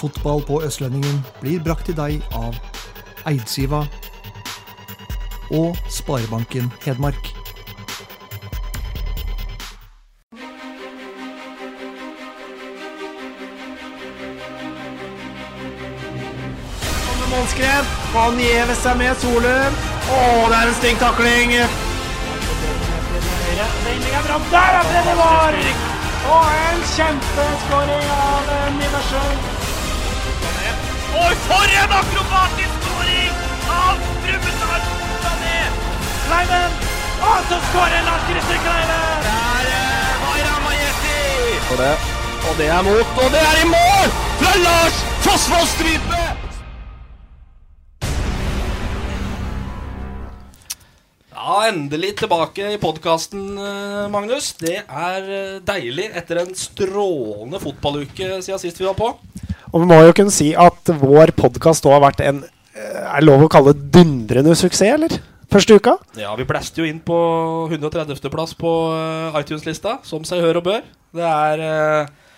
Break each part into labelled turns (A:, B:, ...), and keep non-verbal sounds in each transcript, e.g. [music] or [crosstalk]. A: Fotball på Østlendingen blir brakt til deg av Eidsiva og Sparebanken Hedmark.
B: Målskrev. Han gjever seg med Solum. Å, det er en stygg takling. Vendinga fram. Der er det det var! Og en kjempeskåring av eh, Nidarsjøen. Og for en akrobatisk skåring av Brumunddal Sané! Kleiven! Og så skårer Lars Christer Kleiven! Der eh, var Ramajeti! Og det, og det er mot, og det er i mål! Fra Lars Fossvoll Strype!
C: Ja, endelig tilbake i podkasten, Magnus. Det er eh, deilig etter en strålende fotballuke siden sist vi var på.
D: Og vi må jo kunne si at vår podkast har vært en eh, er lov å kalle det dundrende suksess, eller? Første uka.
C: Ja, vi blæste jo inn på 130.-plass på eh, iTunes-lista, som seg hør og bør. Det er uh,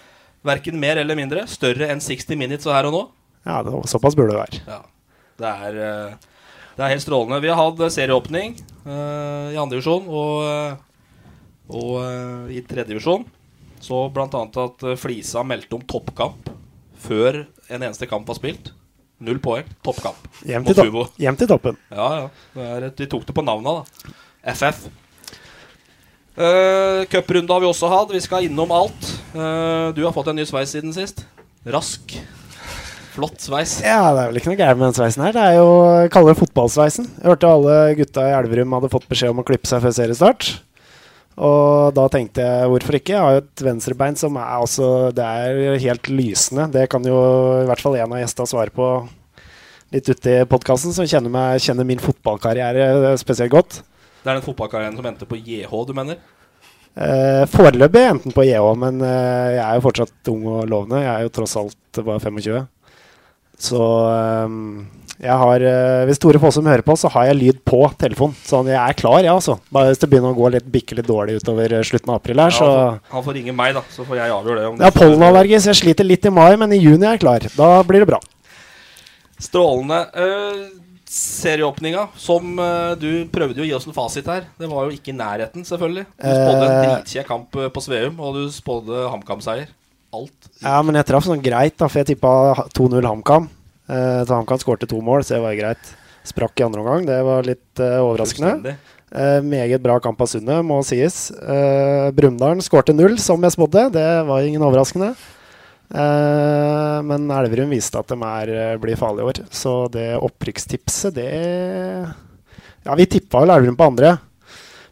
C: verken mer eller mindre. Større enn 60 minutes og her og nå.
D: Ja, det var såpass burde det være.
C: Ja, det er, eh, det er helt strålende. Vi har hatt eh, serieåpning eh, i andre divisjon og, eh, og eh, i tredje divisjon. Så blant annet at eh, Flisa meldte om toppkamp før en eneste kamp var spilt. Null poeng, toppkamp.
D: Hjem
C: Mot
D: til,
C: Hugo.
D: top hjem til toppen.
C: Ja, ja. Det er, et- de tok det på navnet, da. FF. Uh, Cuprunde har vi også hatt. Vi skal innom alt. Eh, du har fått en ny sveis siden sist. Rask. Flott sveis.
D: Ja, det er vel ikke noe gærent med den sveisen her. Det er jo jeg kaller det fotballsveisen. Jeg hørte alle gutta i Elverum hadde fått beskjed om å klippe seg før seriestart. Og da tenkte jeg hvorfor ikke? Jeg har jo et venstrebein som er altså Det er helt lysende. Det kan jo i hvert fall en av gjestene svare på litt ute i podkasten, som kjenner, meg, kjenner min fotballkarriere spesielt godt.
C: Det er den fotballkarrieren som endte på JH, du mener?
D: Eh, foreløpig enten på JH, men eh, jeg er jo fortsatt ung og lovende. Jeg er jo tross alt bare 25. Så eh, jeg har eh, Hvis Tore Fossum hører på, så har jeg lyd på telefon. Så jeg er klar, jeg, ja, altså. Bare hvis det begynner å gå litt, bikke litt dårlig utover eh, slutten av april her, så
C: Ja, altså, han får- han får ringe meg, da, så får jeg avgjøre det. om
D: Jeg har
C: det-
D: pollenallergi, så jeg sliter litt i mai, men i juni er jeg klar. Da blir det bra.
C: Strålende. Eh, serieåpninga, som eh, du prøvde jo å gi oss en fasit her. Det var jo ikke i nærheten, selvfølgelig. Du spådde en
D: Eh.
C: dritkjekk kamp eh, på Sveum, og du spådde HamKam-seier. Alt.
D: Ja, men jeg traff sånn greit, da, for jeg tippa 2-0 HamKam. Eh, så HamKam skårte to mål, så det var greit. Sprakk i andre omgang. Det var litt eh, overraskende.
C: Fullstendig.
D: Eh, meget bra kamp av Sunde, må sies. Eh, Brumunddal skårte null, som jeg spådde. Det var ingen overraskende. Eh, men Elverum viste at de er, eh, blir farlige i år. Så det opprykkstipset, det Ja, vi tippa vel Elverum på andre,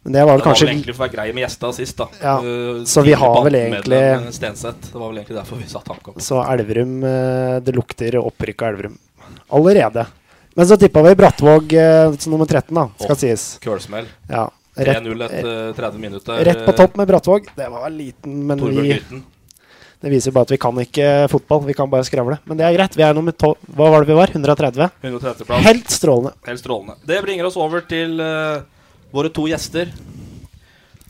D: men det var vel
C: Det var vel
D: kanskje
C: egentlig for å være grei med gjestene sist, da.
D: Ja,
C: Eh,
D: så vi har vel
C: bandmedlem,
D: egentlig-
C: eh, Stenseth. Det var vel egentlig derfor vi satt HamKam.
D: Så Elverum eh, Det lukter opprykk av Elverum. Allerede. Men så tippa vi Brattvåg eh, som nummer 13, da, skal
C: Åh.
D: sies.
C: Kølsmell.
D: Ja. Rett,
C: 3-0 etter 30 minutter. eh,
D: rett på topp med Brattvåg. Det var liten, men
C: Torbjørn
D: vi
C: Grytten.
D: Det viser bare at vi kan ikke fotball, vi kan bare skravle. Men det er greit. Vi er nummer tolv. Hva var det vi var? 130?
C: 130.-plass.
D: Helt strålende.
C: Helt strålende. Det bringer oss over til eh, våre to gjester.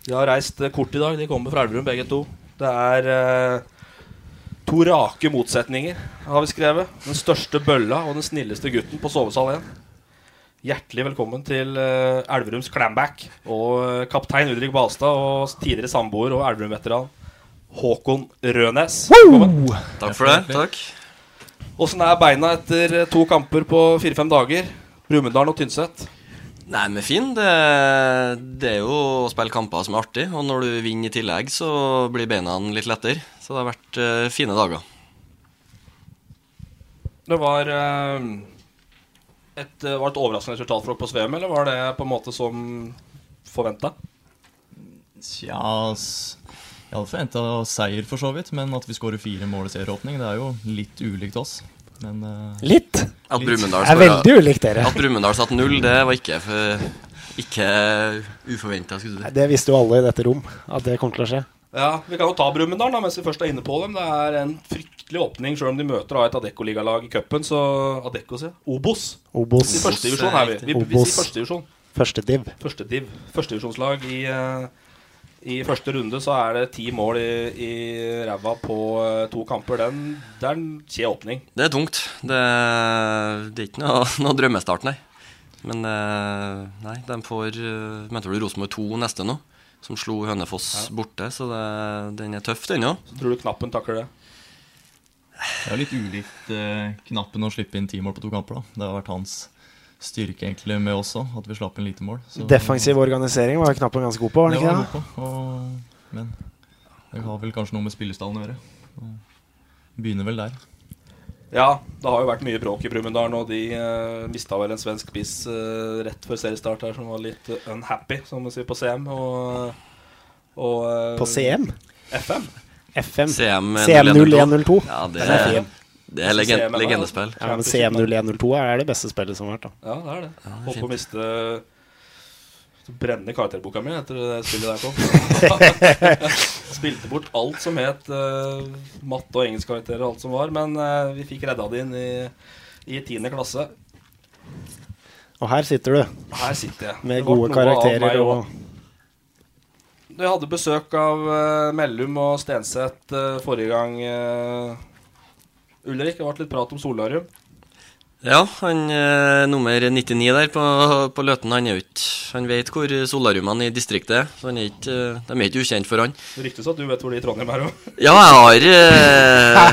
C: De har reist eh, kort i dag. De kommer fra Elverum, begge to. Det er eh, to rake motsetninger, har vi skrevet. Den største bølla og den snilleste gutten på sovesal 1. Hjertelig velkommen til eh, Elverums Clamback og eh, kaptein Ulrik Balstad og tidligere samboer og Elverum-veteran Håkon Rønes. Velkommen.
E: Takk for det. Takk.
C: Åssen er beina etter eh, to kamper på fire-fem dager? Brumunddal og Tynset.
E: Nei, men fin. Det, det er jo å spille kamper som er artig. Og når du vinner i tillegg, så blir beina litt lettere. Så det har vært eh, fine dager.
C: Det var eh, et, eh, var et overraskende resultat for dere på Sveum, eller var det på en måte som forventa?
B: Tja, ass.
F: Jeg hadde forventa seier, for så vidt, men at vi skårer fire mål i serieåpning, det er jo litt ulikt oss. Men, eh,
D: Litt?
E: At Brumunddal
D: Det er
E: skåra-
D: veldig ulikt dere.
E: At Brumunddal satt null, det var ikke, for- ikke uforventa, skulle du si.
D: Det visste jo alle i dette rom at det kom til å skje.
C: Ja, Vi kan jo ta Brumunddal da, mens vi først er inne på dem. Det er en fryktelig åpning, selv om de møter da, et Adecco-ligalag i cupen. Så Adecco, sier jeg. Obos.
D: Obos.
C: I første divisjon er vi. Vi, vi
D: Obos.
C: sier første divisjon.
D: Første div.
C: Første div. Førstedivisjonslag i eh, i første runde så er det ti mål i, i ræva på eh, to kamper. Den, det er en kjed åpning.
E: Det er tungt. Det, det er ikke noe, noe drømmestart, nei. Men eh, nei, de får eh, Mente du Rosenborg 2 neste nå? Som slo Hønefoss borte, så det, den er tøff, den òg.
C: Tror du knappen takler det?
F: Det er jo litt ulikt eh, knappen å slippe inn ti mål på to kamper. da. Det har vært hans styrke egentlig med også, at vi slapp inn lite mål. så-
D: Defensiv organisering var knappen ganske god på, var den ikke
F: det? Var
D: det?
F: han god på, og, men det har vel kanskje noe med spillestallen å gjøre. Og Begynner vel der.
C: Ja, det har jo vært mye bråk i Brumunddal, og de uh, mista vel en svensk spiss eh, rett før seriestart her, som var litt eh, unhappy, som man sier på CM. Og, og, eh,
D: På CM?
C: FM.
D: FM.
E: CM
D: CM0102.
E: Ja, det,
D: Den er fin.
E: det er legend, legendespill.
D: Ja, men CM0102 er det beste spillet som har vært, da.
C: Ja, det er det. Håper å miste så brenner karakterboka mi etter det spillet der
D: [laughs]
C: kom. Spilte bort alt som het eh, matte og engelskkarakterer og alt som var, men eh, vi fikk redda det inn i, i tiende klasse.
D: Og her sitter du.
C: Her sitter jeg.
D: Med
C: Det ble
D: gode
C: noe av meg
D: karakterer og
C: også. Vi hadde besøk av eh, Mellum og Stenseth eh, forrige gang. eh, Ulrik, det ble litt prat om solarium.
E: Ja, han eh, nummer 99 der på, på Løten, han er jo ikke Han vet hvor solariumene i distriktet er, så han er ikke, eh, de er ikke ukjent for han.
C: Det ryktes at du vet hvor de i Trondheim er òg.
E: Ja,
D: [laughs]
E: jeg har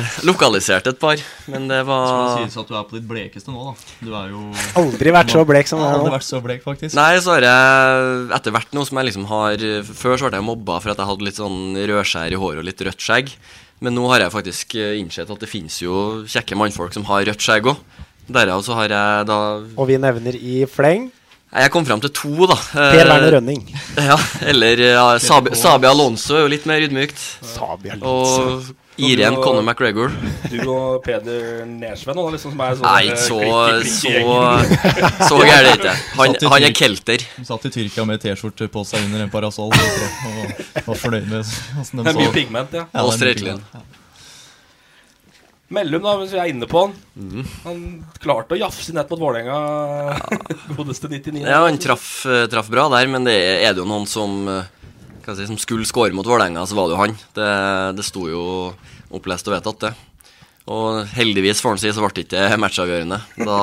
E: eh, lokalisert et par, men det var
F: Det sies at du er på ditt blekeste nå, da. Du er jo
D: Aldri vært så blek som du er nå.
F: Aldri vært så blek, faktisk.
E: Nei, så har jeg etter hvert noe som jeg liksom har Før så ble jeg mobba for at jeg hadde litt sånn rødskjær i håret og litt rødt skjegg. Men nå har jeg faktisk eh, innsett at det finnes jo kjekke mannfolk som har rødt skjegg òg. Derav så har jeg da
D: Og vi nevner i fleng
E: Nei, Jeg kom fram til to, da. Eh,
D: Per Werner Rønning.
E: Ja, eller ja, Sabi, Sabi Alonso er jo litt mer ydmykt.
D: Sabi
E: Og Irén Conor McGregor.
C: [laughs] Du og Peder Nersven nå, da, liksom, som er sånn
E: Nei,
C: eh,
E: så,
C: klikk-
E: så,
C: klikk- klikk-
E: [laughs] så gæren er det ikke. Han,
F: Satt i
E: han er
F: Tyrk-
E: kelter.
F: Satt i Tyrkia med T-skjorte på seg under en parasoll og, og var fornøyd med åssen de
C: Det er
F: så
C: mye pigment, ja.
F: det er
E: Og
F: mye
E: strøyklen.
F: pigment.
C: Mellum, da, hvis vi er inne på han.
E: Mhm.
C: Han klarte å jafse nett mot Vålerenga [laughs] godeste 99.
E: Ja, han traff, eh, traff bra der, men det er det jo noen som, eh, hva skal jeg si, som skulle score mot Vålerenga, så var det jo han. Det, det sto jo opplest og vedtatt, det. Og heldigvis, får han si, så ble det ikke matchavgjørende. Da,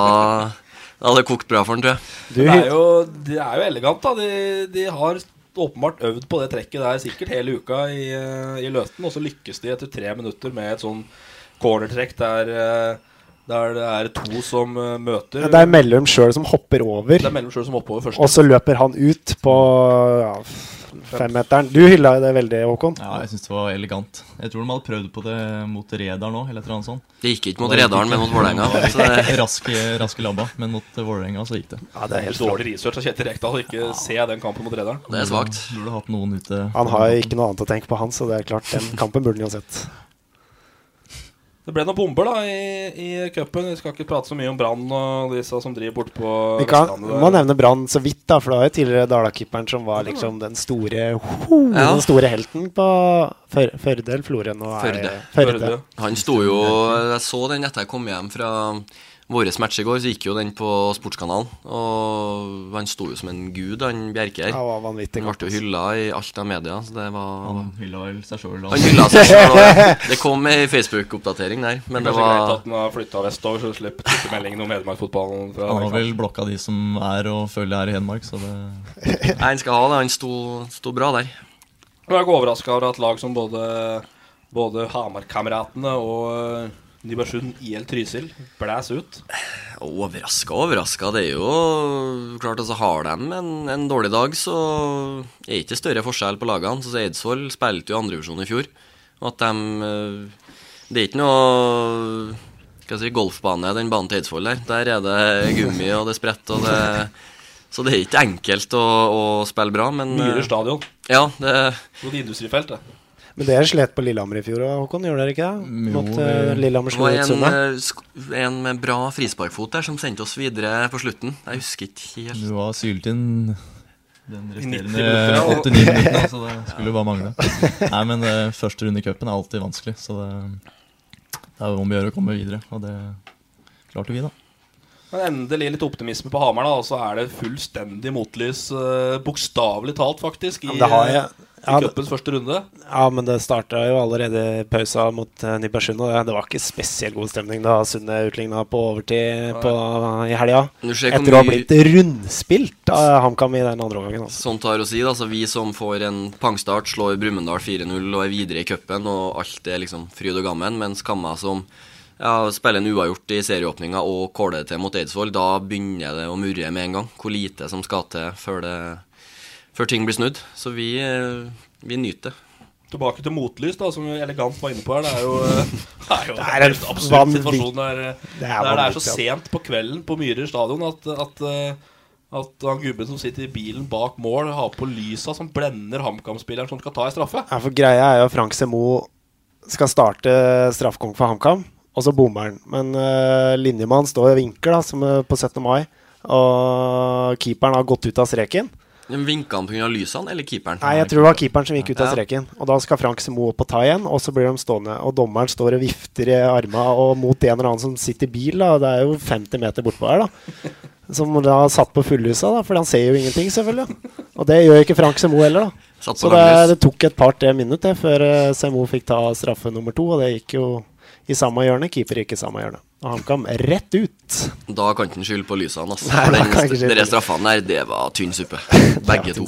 E: da hadde det kokt bra for han, tror jeg.
C: det, er jo, det er jo elegant, da. De, de har åpenbart øvd på det trekket der sikkert hele uka i, eh, i Løten, og så lykkes de etter tre minutter med et sånn cornertrekk der, eh, der det er to som eh, møter.
D: Det er Mellum sjøl som hopper over.
C: Det er Mellum sjøl som hopper over først.
D: Og så løper han ut på ja, femmeteren. Du hylla jo det veldig, Håkon.
F: Ja, jeg syns det var elegant. Jeg tror de hadde prøvd på det mot Redaren òg, eller et eller annet sånt.
E: Det gikk ikke mot Redaren, men mot Vålerenga, så
F: [laughs]
E: det-
F: Raske, raske labba, men mot Vålerenga så gikk det.
D: Ja,
C: det er helt Dårlig research av Kjetil Rekdal å ikke se den kampen mot Rederen.
F: Burde hatt noen ute.
D: Han har jo ikke noe annet å tenke på, han, så det er klart, den kampen burde han jo sett.
C: Det ble noen bomber da i, i cupen. Vi skal ikke prate så mye om Brann og disse som driver bortpå
D: Vi kan, må nevne Brann så vidt, da, for det var jo tidligere Dala-keeperen som var liksom den store ho,
E: Ja.
D: Den store helten på Før- Førde eller Florø nå. Er
E: Førde.
D: det Førde.
E: Han sto jo Jeg så den etter jeg kom hjem fra vår match i går, så gikk jo den på Sportskanalen. Og han sto jo som en gud, han Bjerke her.
D: Ja, var vanvittig
E: Han ble jo hylla i alt av media, så det var
F: Han hylla vel seg sjøl,
E: Han hylla seg selv, og Det kom ei Facebook-oppdatering der, men det
C: Kanskje greit
E: var
C: at den har flytta vestover, så du slipper twittermeldingen om Hedmarksfotballen. fra
F: Han har
C: Hedmark.
F: vel blokka de som er og føler jeg er i Hedmark, så det
E: Nei, han skal ha det. Han sto, sto bra der.
C: Jeg er ikke overraska over at lag som både, både Hamar-kameratene og eh, Nybergsund IL Trysil blæs ut.
E: Overraska, overraska. Det er jo klart, altså har de en, en dårlig dag, så er det ikke større forskjell på lagene. Så Eidsvoll spilte jo andrevisjon i fjor. Og at de eh, Det er ikke noe hva skal jeg si, golfbane, den banen til Eidsvoll der. Der er det gummi, og det er spredt, og det Så det er ikke enkelt å, å spille bra, men eh,
C: Myhre stadion.
E: Ja, det
C: Noe industrifelt, det.
D: Men dere slet på Lillehammer i fjor òg, Håkon? Gjorde dere ikke det? Mot eh, Lillehammer
E: Det
D: slo
E: var
D: ut
E: en,
D: Sunne?
E: eh, sk- en med bra frisparkfot der som sendte oss videre på slutten. Jeg husker ikke helt.
F: Du var sylt inn den
E: I 90 minutter,
F: resterende
E: ja.
F: 89 [laughs] minuttene, så det skulle jo bare mangle. altså. [laughs] Nei, men eh, første runde i cupen er alltid vanskelig, så det, det er jo om å gjøre å komme videre. Og det klarte vi, da.
C: Men endelig litt optimisme på Hamar, da, og så er det fullstendig motlys, eh, bokstavelig talt, faktisk, i, eh,
D: Men det har jeg-
C: i
D: ja, det-
C: cupens første runde.
D: Ja, men det starta jo allerede i pausa mot eh, Nybergsund, og det- det var ikke spesielt god stemning da Sunne utligna på overtid på, i helga.
E: Du ser hvor
D: Etter å ha
E: mye-
D: blitt rundspilt av HamKam i den andre omgangen. Altså.
E: Sånt har å si. da, så Vi som får en pangstart, slår Brumunddal 4-0 og er videre i cupen, og alt er liksom fryd og gammen. Mens Kamma som ja, spiller en uavgjort i serieåpninga og kåler det til mot Eidsvoll, da begynner det å murre med en gang. Hvor lite som skal til før, det, før ting blir snudd. Så vi, eh, vi nyter det.
C: Tilbake til motlys, da, som vi elegant var inne på her. Det er jo, eh, [laughs] det er jo
D: Det er en
C: helt absurd
D: vanvitt-
C: situasjon der eh,
D: Det
C: det
D: er
C: er, det er så
D: vanvittig, altså.
C: sent på kvelden på Myhrer stadion at, at, eh, at han gubben som sitter i bilen bak mål, har på lysa som blender HamKam-spilleren som skal ta en straffe.
D: Ja, for greia er jo at Frank Semo skal starte straffekonk for HamKam, og så bommer han. Men uh, linjemannen står og vinker da, som eh, på 17. mai, og keeperen har gått ut av streken.
E: Men Vinka han pga. lysene, eller keeperen?
D: Nei, jeg tror det var keeperen som gikk ut av
E: Ja.
D: streken. Og da skal Frank Semo opp og ta igjen, og så blir de stående. Og dommeren står og vifter i arma og mot en eller annen som sitter i bil, da. Det er jo 50 meter bortpå her, da. Som da har satt på fulllysa, da, for han ser jo ingenting, selvfølgelig. Og det gjør ikke Frank Semo heller, da.
E: Satt på
D: Så det,
E: langlys.
D: det tok et par-tre minutter før eh, Semo fikk ta straffe nummer to, og det gikk jo i samme hjørne. Keeper gikk i samme hjørne. Og han kom rett ut.
E: Da kan ikke han skylde på lysene. Altså.
D: Nei,
E: For
D: da
E: den-
D: kan han ikke skylde på
E: Dere
D: lysene.
E: straffene der, det var tynn
D: [laughs]
E: suppe. Begge to.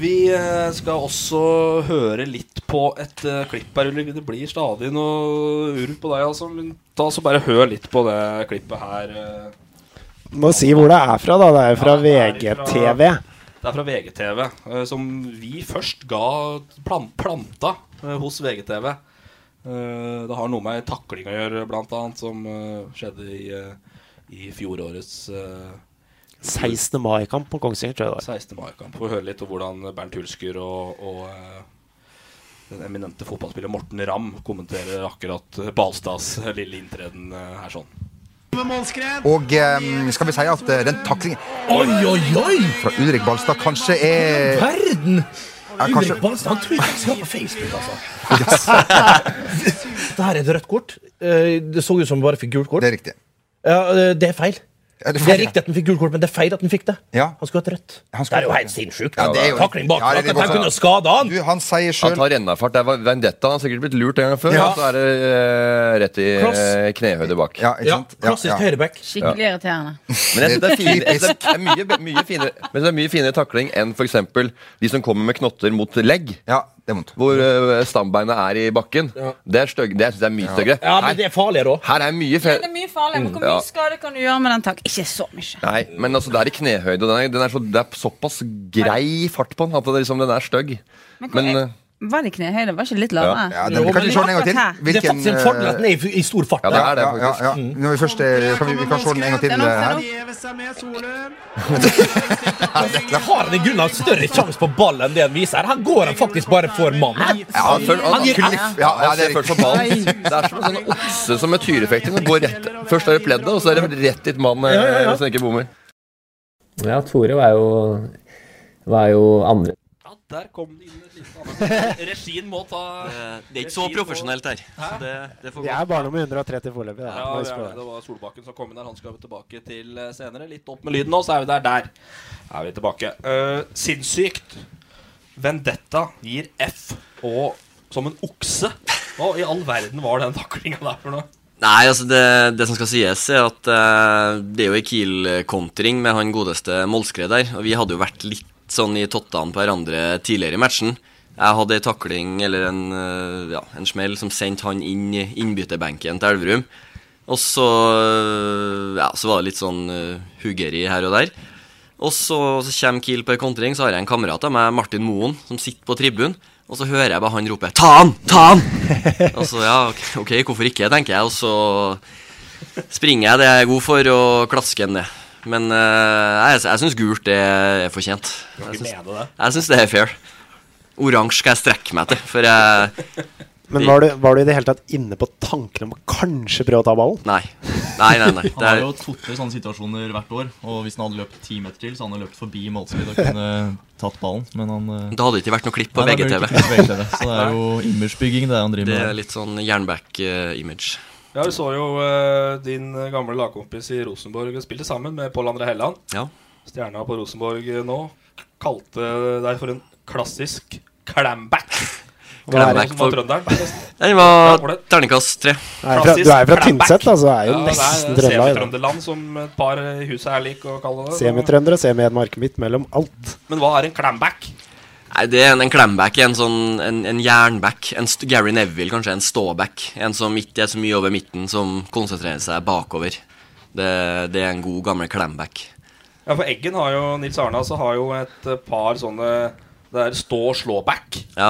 C: Vi eh, skal også høre litt på et eh, klipp her, Ulrik. Det blir stadig noe urv på deg, altså. Men ta så bare hør litt på det klippet her. eh.
D: Må si hvor det er fra, da. Det er jo fra VGTV.
C: Det er fra VGTV, eh, som vi først ga plan planta eh, hos VGTV. Eh, Det har noe med takling å gjøre, blant annet, som eh, skjedde i, eh, i fjorårets eh,
D: 16. mai-kamp på Kongsvinger, tror jeg det var.
C: 16. mai-kamp. Får høre litt om hvordan Bernt Hulsker og, og eh, den eminente fotballspiller Morten Ramm kommenterer akkurat eh, Balstads eh, lille inntreden eh, her sånn.
G: Og eh, skal vi si at eh, den taklingen Oi, oi, oi! Fra Ulrik Balstad kanskje er
H: Verden!
G: Ja, kanskje-
H: Ulrik Balstad, han trodde ikke på Facebook, altså.
G: Yes.
H: [laughs] det her er et rødt kort. Eh, Det så ut som han bare fikk gult kort. Det
G: er riktig.
H: Ja, eh, det er feil.
G: Ja,
H: det,
G: det
H: er
G: er feil, ja.
H: riktig at han fikk gult kort, men det er feil at han fikk det. Han skulle hatt rødt. det er jo helt sinnssykt.
I: Ja, det er jo-
H: Takling bakfra.
I: Ja, det er litt
H: at han
I: voldsomt.
H: kunne skada han!
G: han sier
I: Han tar rennafart. Det er vendetta. Han har sikkert blitt lurt en gang før.
H: Ja.
I: Og så er det eh, rett i eh, knehøyde bak.
H: Ja, klassisk høyreback.
I: Ja.
J: Skikkelig irriterende.
I: Men jeg synes det er, fin, jeg synes det er mye, be- mye finere Men det er mye finere takling enn f.eks. de som kommer med knotter mot legg. Hvor eh, stambeinet er i bakken. Det er stygg, det synes jeg er mye styggere.
H: Ja, men det er farligere òg.
I: Her er mye
J: Det
I: fe...
J: er mye farlig. Men hvor
I: Ja.
J: mye skade kan du gjøre med den tak? Ikke så mye.
I: Nei, men altså, det er i knehøyde. og Den er, den er så, det er såpass grei fart på den at det, liksom, den er stygg.
J: Men hvor
I: Men
J: er-
I: eh,
J: Var det knehøyde? Var ikke litt lavere?
I: Ja. Ja, den- Jo, kan
G: vi se den en gang
H: Det
G: til?
H: er faktisk en
G: Hvilken,
H: fordel at den er i, i stor fart.
G: Ja,
H: der.
G: ja, ja, eh, ja. Når vi først eh, kan vi, vi kan se den en gang til eh, her.
H: Der har han i grunnen større sjanse på ball enn det han viser. Her går han faktisk bare for mannen.
I: Ja, han føler- han-
H: gir-
I: han- han ser først på ballen. Det er som en sånn okse som med tyrefekting. som går rett, først er det pleddet, og så er det rett dit mannen eh,
K: Ja, ja, ja.
I: som ikke bommer.
K: Ja, Tore var jo, var jo andre.
C: Ja, der kom det inn et lite annet. Regien må ta
E: Det er ikke så profesjonelt her. Så det, det får
D: Det
E: gå.
D: er bare noe med 130 foreløpig. da.
C: Ja,
D: Må
C: det,
D: huske
C: er,
D: på
C: det.
D: det.
C: det var Solbakken som kom inn der. Han skal vi tilbake til eh, senere. Litt opp med lyden nå, så er vi der. Der er vi tilbake. Eh, sinnssykt. Vendetta gir F. Og som en okse. Hva i all verden var den taklinga der for noe?
E: Nei, altså det, det som skal sies er at eh, det er jo en Kiel-kontring med han godeste Molskred der, og vi hadde jo vært litt sånn i tottene på hverandre tidligere i matchen. Jeg hadde en takling, eller en, eh, ja, en smell, som sendte han inn i innbytterbenken til Elverum. Og så, eh, ja, så var det litt sånn eh, huggeri her og der. Og så, så kommer Kiel på en kontring, så har jeg en kamerat av meg, Martin Moen, som sitter på tribunen. Og så hører jeg bare han rope 'ta han! Ta han!' Og så ja, ok, ok, hvorfor ikke, tenker jeg. Og så springer jeg det jeg er god for, og klasker den ned. Men eh, jeg, jeg syns gult er, er fortjent.
C: Du kan
E: Jeg
C: ikke
E: syns-
C: mene det.
E: jeg syns det er fair. Oransje skal jeg strekke meg til, for jeg
D: Men var du, var du i det hele tatt inne på tanken om å kanskje prøve å ta ballen?
E: Nei. Nei, nei, nei.
F: Han har jo to-tre sånne situasjoner hvert år. Og hvis han hadde løpt ti meter til, så hadde han løpt forbi målskritt og kunne [laughs] tatt ballen. Men han eh,
E: Da hadde det ikke vært noe klipp på
F: nei, det hadde
E: VGTV.
F: ikke vært klipp på VGTV, Så det er jo imagebygging, det han driver
E: Det
F: med.
E: er litt sånn jernback-image.
C: Ja, Vi så jo eh, din gamle lagkompis i Rosenborg spilte sammen med Pål André Helland.
E: Ja.
C: Stjerna på Rosenborg nå kalte deg for en klassisk clamback.
E: Clamback
C: Som var
E: for-
C: trønderen, nesten.
E: Den var
C: Ja, ålreit.
E: terningkast tre.
D: Nei, fra- du er jo fra
C: Clamback.
D: Tynset, da, så det er jo
C: Ja, det det
D: nesten
C: er
D: Trøndelag, da.
C: Semitrøndeland, som et par hus er lik å kalle det.
D: Semitrøndere, semi-Hedmarken midt mellom alt.
C: Men hva er en clamback?
E: Nei, det er en, en klemback, en sånn En, en jernback. En st Gary Neville, kanskje. En ståback. En som ikke er så mye over midten, som konsentrerer seg bakover. Det, det er en god, gammel klemback.
C: Ja, for Eggen har jo, Nils Arne altså, har jo et eh, par sånne Det er stå og slå-back.
E: Ja.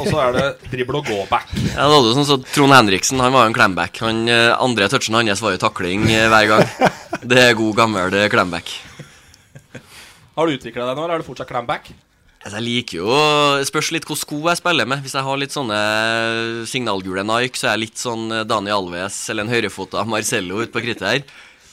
C: Og så er det dribble og gå-back.
E: Ja, det var jo sånn så Trond Henriksen han var jo en klemback. Han eh, andre touchen hans var jo takling eh, hver gang. Det er god, gammel eh, klemback.
C: Har du utvikla deg nå, eller er du fortsatt clamback?
E: Altså, jeg liker jo Det spørs litt hvilke sko jeg spiller med. Hvis jeg har litt sånne eh, signalgule Nike, så er jeg litt sånn eh, Dani Alves eller en høyrefota Marcello ute på krittet her.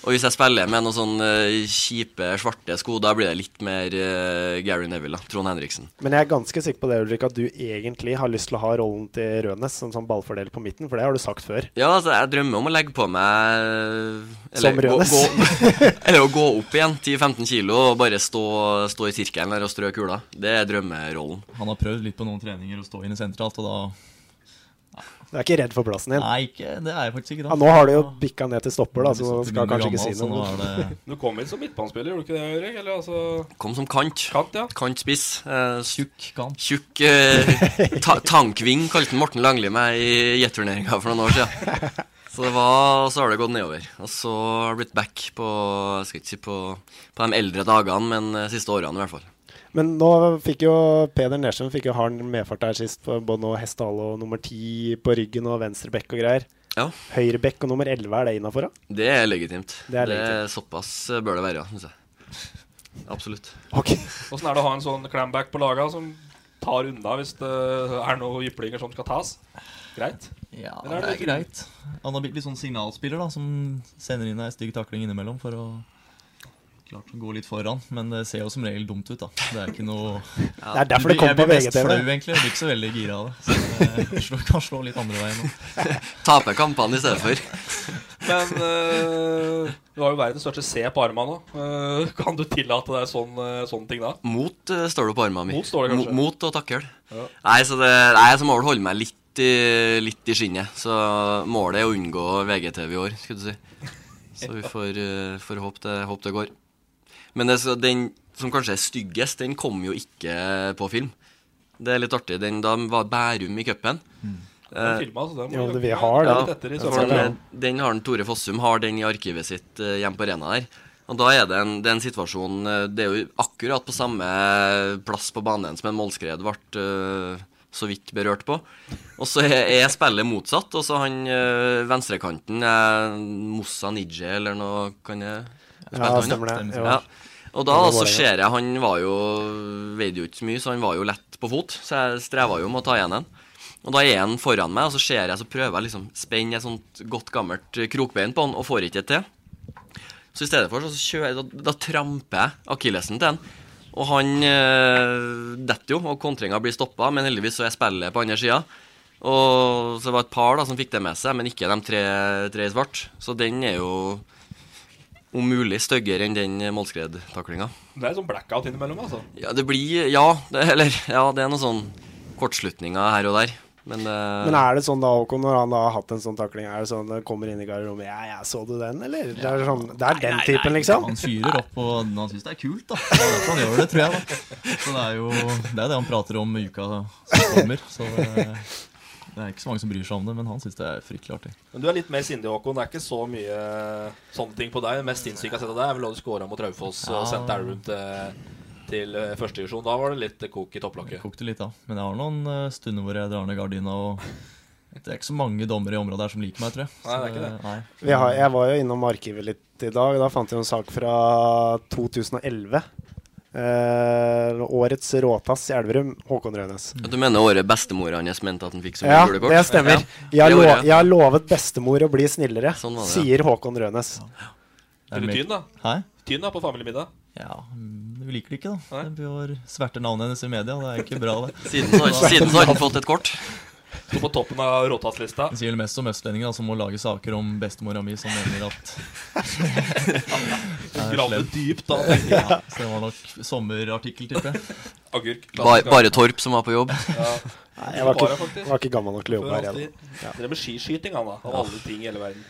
E: Og hvis jeg spiller med noen sånne eh, kjipe, svarte sko, da blir det litt mer eh, Gary Neville, da. Trond Henriksen.
D: Men jeg er ganske sikker på det, Ulrik, at du egentlig har lyst til å ha rollen til Rønes som sånn ballfordeler på midten, for det har du sagt før.
E: Ja, altså, jeg drømmer om å legge på meg eh,
D: Som
E: gå-
D: Rønes. [laughs]
E: gå- Eller å gå opp igjen 10-15 kilo og bare stå, stå i sirkelen der og strø kula. Det er drømmerollen.
F: Han har prøvd litt på noen treninger å stå inne sentralt, og da
D: Du er ikke redd for plassen din.
F: Nei, ikke, det er jeg faktisk ikke. da
D: Ja, nå har du jo bikka ned til stopper, da,
F: Nå er
D: så
F: vi
D: nå
F: så til
D: skal jeg
F: mye
D: kanskje ikke
F: gammel,
D: si
F: så nå
D: noe.
F: er det-
C: Du kom inn som midtbanespiller, gjorde du ikke det, Jørgen? Eller altså
E: Kom som kant.
C: Kant, ja.
E: Kantspiss. eh,
F: tjukk kant.
E: Tjukk eh, ta tankving kalte han Morten Langli meg i jetturneringa for noen år siden. Så det var, og så har det gått nedover. Og så har det blitt back på jeg skal ikke si på, på de eldre dagene, men eh, siste årene i hvert fall.
D: Men nå fikk jo Peder Nesjem fikk jo hard medfart der sist, på både nå hestehale og nummer ti på ryggen og venstre bekk og greier.
E: Ja.
D: Høyre bekk og nummer elleve, er det innafor, da?
E: Det er legitimt.
D: Det er
E: Såpass eh, bør det være, syns jeg. Absolutt.
C: Åssen er det å ha en sånn clamback på laga som tar unna hvis det er noen jyplinger som skal tas? Greit?
F: Ja,
C: Eller
F: det er
C: litt-
F: greit. Han har blitt litt sånn signalspiller, da, som sender inn ei stygg takling innimellom for å Klart å gå litt foran, men det ser jo som regel dumt ut, da. Det er ikke noe
D: [laughs] Det er derfor det
F: Jeg
D: kommer
F: blir-
D: på
F: Jeg blir mest
D: VGTV.
F: flau, egentlig. Jeg blir ikke så veldig gira av det. Så jeg slår- kan slå litt andre veien nå.
E: Taper kampene i stedet for.
C: Men eh, du har jo verdens største C på armene nå. Eh, kan du tillate deg sånn, eh, sånne ting da?
E: Mot eh, står det på armen min.
C: Mot står det kanskje.
E: Mo- Mot og takkel.
C: Ja.
E: Nei, så det, nei, jeg må vel holde meg litt i, litt i skinnet. Så målet er å unngå VGTV i år, skulle du si. Så vi får, eh, får håpe det, håpe det går. Men det, så den som kanskje er styggest, den kom jo ikke på film. Det er litt artig. Den da var Bærum i cupen.
C: Den
E: Eh,
C: filmet, altså, den må
D: Jo,
C: vi-
D: det- vi har
C: Ja,
D: den.
C: litt etter i
D: Den
C: sømmene.
D: ser vi, ja.
E: den, den har den Tore Fossum har den i arkivet sitt eh, hjemme på Arena der. Og da er det en, det er en situasjon eh, Det er jo akkurat på samme plass på banen som en målskred ble eh, så vidt berørt på. Og så er, er spillet motsatt, og så han eh, venstrekanten er Moussa Nije eller noe kan jeg,
D: Ja,
E: spilte han,
D: stemmer det, jo.
E: Ja. Og da
D: Det var
E: så
D: Vålerenga.
E: ser jeg han var jo veide jo ikke så mye, så han var jo lett på fot. Så jeg streva jo med å ta igjen en. Og da er han foran meg, og så ser jeg, så prøver jeg liksom spenne et sånt godt gammelt krokbein på han, og får ikke det til. Så i stedet for så kjører jeg, da, da tramper jeg akillesen til han. Og han eh, detter jo, og kontringa blir stoppa, men heldigvis så er spillet på andre sida. Og så det var et par da som fikk det med seg, men ikke de tre, tre i svart. Så den er jo om mulig styggere enn den målskredtaklinga.
C: Det er sånn blackout innimellom, altså.
E: Ja, det blir Ja, det, eller Ja, det er noen sånn kortslutninger her og der. Men, eh,
D: Men er det sånn da, Håkon, når han da har hatt en sånn takling, er det sånn det kommer inn i garderommet Ja, ja, så du den, eller? Det er, sånn, det er den typen, liksom.
F: Han fyrer opp, og han syns det er kult, da. Det er derfor han gjør det, tror jeg. da Så det er jo det er det han prater om i uka som kommer. Så det, det er ikke så mange som bryr seg om det, men han syns det er fryktelig artig.
C: Men du er litt mer sindig, Håkon. Det er ikke så mye eh, sånne ting på deg. Det mest sinnssyke jeg har sett av deg, er vel da du skåra mot Raufoss og
F: Ja.
C: sendte Elverum til, til eh, første divisjon. Da var det litt kok i topplokket.
F: kokte litt, da. Men jeg har noen eh, stunder hvor jeg drar ned gardina, og det er ikke så mange dommere i området her som liker meg, tror jeg.
C: Nei, det er ikke det.
F: Nei.
D: Vi har, jeg var jo innom arkivet litt i dag. Da fant jeg en sak fra 2011. Eh, årets råtass i Elverum, Håkon Rønes.
E: Du mener året bestemora hans mente at han fikk så mye
D: Ja,
E: julekort?
D: det stemmer. Jeg
E: Ja.
D: har,
E: Det
D: lo
E: året.
D: jeg har lovet bestemor å bli snillere,
E: var det, ja.
D: sier Håkon Rønes.
C: Eller Tyn, da.
F: Hæ?
C: Tyn da, på familiemiddag.
F: Ja, mm, vi liker det ikke, da. Vi har sverter navnet hennes i media. Det er ikke bra,
C: [laughs]
F: det.
E: Siden så har- siden så har han fått et kort.
C: Sto på toppen av råtasslista.
F: Det sier vel mest om østlendinger, da, som må lage saker om bestemora mi som mener at
C: [laughs] Hun gravde dypt, da.
F: Ja, så det var nok sommerartikkel, tipper jeg.
C: Agurk.
E: Bare, bare Torp som var på jobb.
D: Nei, jeg var ikke- var ikke gammel nok til å jobbe her, jeg, da.
C: Ja. Drev med skiskyting, han, da. Av alle ting i hele verden.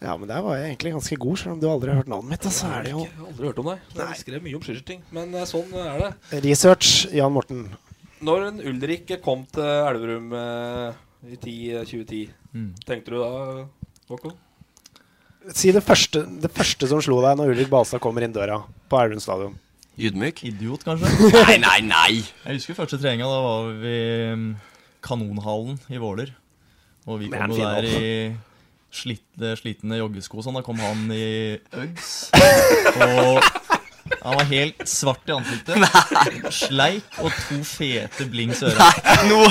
D: Ja, men der var jeg egentlig ganske god, selv om du aldri har hørt navnet mitt. da, Så er det jo
C: Jeg har aldri hørt om deg. Jeg skrev mye om skiskyting, men eh, sånn er det.
D: research, Jan Morten.
C: Når en Ulrik kom til Elverum eh, i 10, 2010,
F: Mm.
C: tenkte du da, Håkon?
D: Si det første, det første som slo deg når Ulrik Balstad kommer inn døra på Elverum stadion. [laughs]
E: Ydmyk?
F: Idiot, kanskje?
E: Nei, nei, nei!
F: Jeg husker første treninga. Da var vi i mm, Kanonhallen i Våler. Og vi
E: Men
F: kom
E: er den
F: jo
E: fin,
F: der
E: altså?
F: i slitne, slitne joggesko og sånn. Da kom han i Uggs. Og han var helt svart i ansiktet. Sleik og to fete blings øre.
E: Nei, nå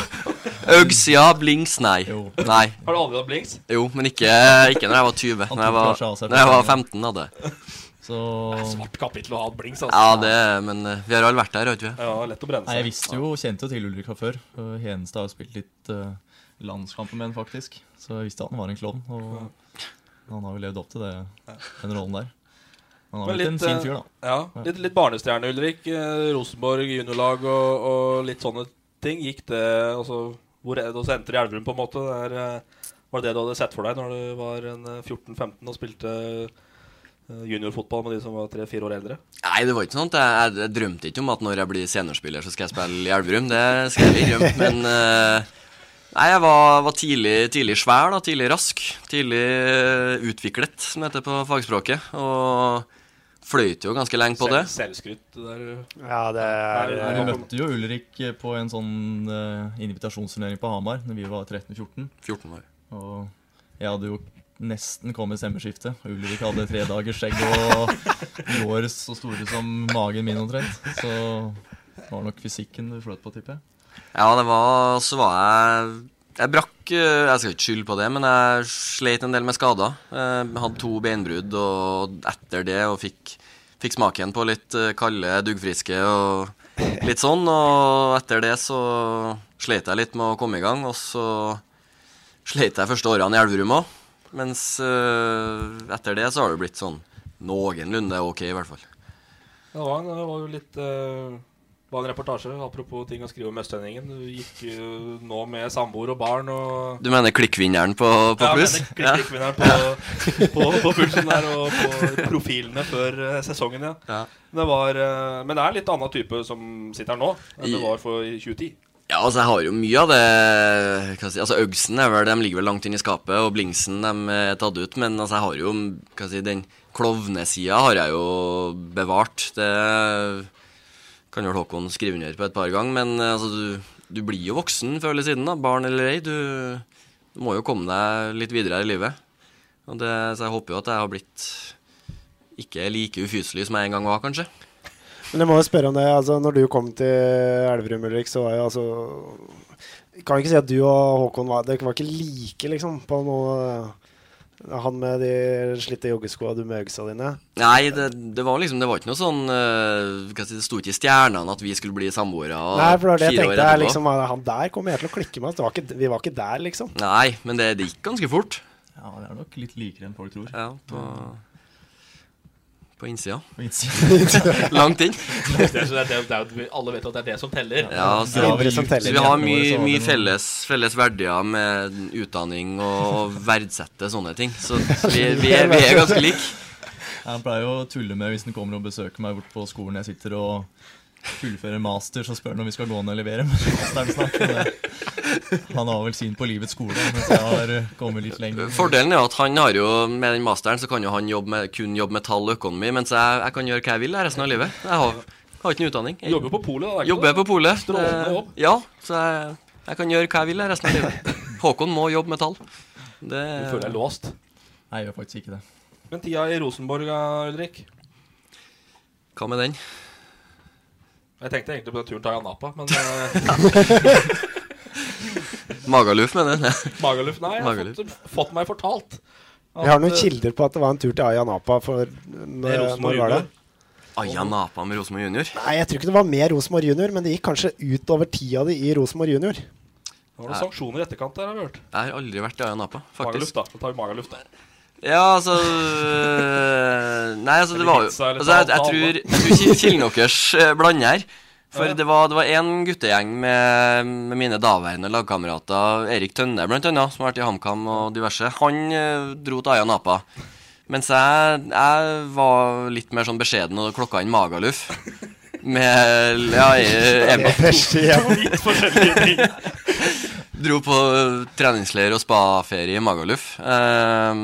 E: Uggs ja, Blinks nei. nei.
C: Har du aldri hatt blinks?
E: Jo, men ikke, ikke når jeg var 20.
F: Han
E: Når jeg
F: tok
E: var,
F: kanskje av seg
E: når jeg var
F: først.
E: 15, hadde jeg.
F: Så
C: Svart kapittel å ha blinks, altså.
E: Ja, det, men eh, vi har alle vært der, har ikke vi?
C: Ja, lett å brenne
F: Nei, jeg visste jo, kjente jo til Ulrik fra før. Uh, Hedenstad har jo spilt litt uh, landskamper med ham, faktisk. Så jeg visste at han var en klovn. Og han har jo levd opp til det, den rollen der. Han har
C: Men
F: blitt en fin
C: eh,
F: fyr, da.
C: Ja, litt, litt barnestjerne, Ulrik. Eh, Rosenborg, juniorlag og, og litt sånne ting. Gikk det altså, Hvor er det hos Enter i Elverum, på en måte? Det er, eh, var det det du hadde sett for deg når du var en, eh, 14-15 og spilte eh, juniorfotball med de som var 3-4 år eldre?
E: Nei, det var ikke sånt. Jeg, jeg, jeg drømte ikke om at når jeg blir seniorspiller, så skal jeg spille i Elverum. Det skal jeg innrømme. Men eh, nei, jeg var, var tidlig, tidlig svær, da. Tidlig rask. Tidlig eh, utviklet, som det heter på fagspråket. Og fløyt jo ganske lenge på det.
C: Selv, selvskryt der.
D: Ja, det
F: Vi
C: er
F: møtte jo Ulrik på en sånn uh, invitasjonsturnering på Hamar Når vi var 13-14.
E: 14 var
F: Og jeg hadde jo nesten kommet stemmeskiftet. og Ulrik hadde tre dagers skjegg og lår så store som magen min omtrent. Så det var nok fysikken du fløt på, tipper jeg.
E: Ja, det var Så var jeg Jeg brakk eh, Jeg skal ikke skylde på det, men jeg sleit en del med skader. Eh, Hadde to beinbrudd og etter det og fikk, fikk smaken på litt eh, kalde, duggfriske og litt sånn. Og etter det så sleit jeg litt med å komme i gang, og så sleit jeg første årene i Elverum òg. Mens eh, etter det så har det blitt sånn noenlunde ok, i hvert fall.
C: Ja, Det var, en, det var jo litt eh, det var en reportasje, apropos ting å skrive om Østlendingen. Du gikk jo nå med samboer og barn og
E: Du mener klikkvinneren på, på
C: Ja,
E: pluss?
C: mener klikk- klikkvinneren på, på, på pulsen der og på profilene før eh, sesongen, ja.
E: Ja.
C: Det var, eh, men det er en litt annen type som sitter her nå enn det var for i 2010.
E: Ja, altså jeg har jo mye av det hva skal jeg si, altså Øgsen er vel, de ligger vel langt inne i skapet, og Blingsen de er tatt ut. Men altså jeg har jo hva skal jeg si, den klovnesida har jeg jo bevart. Det kan vel Håkon skrive under på et par ganger. Men eh, altså, du, du blir jo voksen før eller siden, da, barn eller ei. Du, du må jo komme deg litt videre her i livet. Og det, så jeg håper jo at jeg har blitt ikke like ufyselig som jeg en gang var, kanskje.
D: Men jeg må jo spørre om det. altså Når du kom til Elverum, Ulrik, så var jo altså Kan vi ikke si at du og Håkon var Dere var ikke like, liksom, på noe Han med de slitte joggeskoa, du med øgsa dine.
E: Nei, det, det var liksom Det var ikke noe sånn eh, hva skal jeg si, Det sto ikke i stjernene at vi skulle bli samboere og
D: Nei, for det var det jeg
E: fire år
D: tenkte.
E: etterpå.
D: Liksom, han der kommer jeg til å klikke med. altså, Det var ikke, vi var ikke der, liksom.
E: Nei, men det, det gikk ganske fort.
F: Ja, det er nok litt likere enn folk tror.
E: Ja, på, på innsida. [laughs]
F: På innsida.
E: Langt inn.
C: Det er, det er, det er, jo- alle vet at det er det som teller.
E: Ja, så, så vi har mye, mye felles, felles verdier med utdanning og, og verdsette sånne ting. Så vi, vi, er, vi er ganske like.
F: Jeg pleier jo å tulle med hvis den kommer og besøker meg bort på skolen jeg sitter og fullfører master, så spør han om vi skal gå ned og levere masteren snart. men det- Han har vel sin på livets skole, mens jeg har kommet litt lenger.
E: Fordelen er jo at han har jo med den masteren så kan jo han jobbe med, kun jobbe med tall og økonomi, mens jeg, jeg kan gjøre hva jeg vil resten av livet. Jeg har, har ikke noe utdanning. Jeg,
C: Jobber på polet, da. er det ikke
E: Jobber
C: det?
E: på polet.
C: Strålende
E: Eh,
C: jobb.
E: Ja, så jeg, jeg kan gjøre hva jeg vil resten av livet. [laughs] Håkon må jobbe med tall. Det,
C: Du føler deg låst?
F: Nei, jeg gjør faktisk ikke det.
C: eh, Men tida i Rosenborg, ja, Ulrik?
E: Hva med den?
C: Jeg tenkte egentlig på den turen til Ayanapa, men eh,
E: Magaluf, mener jeg.
C: Magaluf, nei. Jeg har
E: Magaluf.
C: fått, fått meg fortalt.
D: Vi har noen
C: at, eh,
D: kilder på at det var en tur til Aya Napa for når, når var det?
E: Aya Napa med Rosenborg junior.
D: Nei, jeg tror ikke det var med Rosenborg junior, men det gikk kanskje utover tida di i Rosenborg junior.
C: Det var noen sanksjoner i etterkant der, har vi hørt.
E: Jeg har aldri vært i Aya Napa,
C: Magaluf,
E: faktisk.
C: da. Da tar vi
E: [laughs]
C: Magaluf der.
E: Ja, altså øh, Nei, altså, det
C: Eller
E: var jo
C: pizza, eller
E: altså, jeg, jeg,
C: salta, da.
E: tror, jeg tror ki- kilden deres eh, blander her. For
C: Ja, ja.
E: det var det var én guttegjeng med, med mine daværende lagkamerater, Erik Tønne blant annet, som har vært i HamKam og diverse. Han eh, dro til Aya Napa. Mens jeg, jeg var litt mer sånn beskjeden og klokka inn Magaluf. Med ja, eh,
D: [laughs] Det er verste, ja.
E: Emil. Dro på ø, treningsleir og spaferie i Magaluf. Ehm,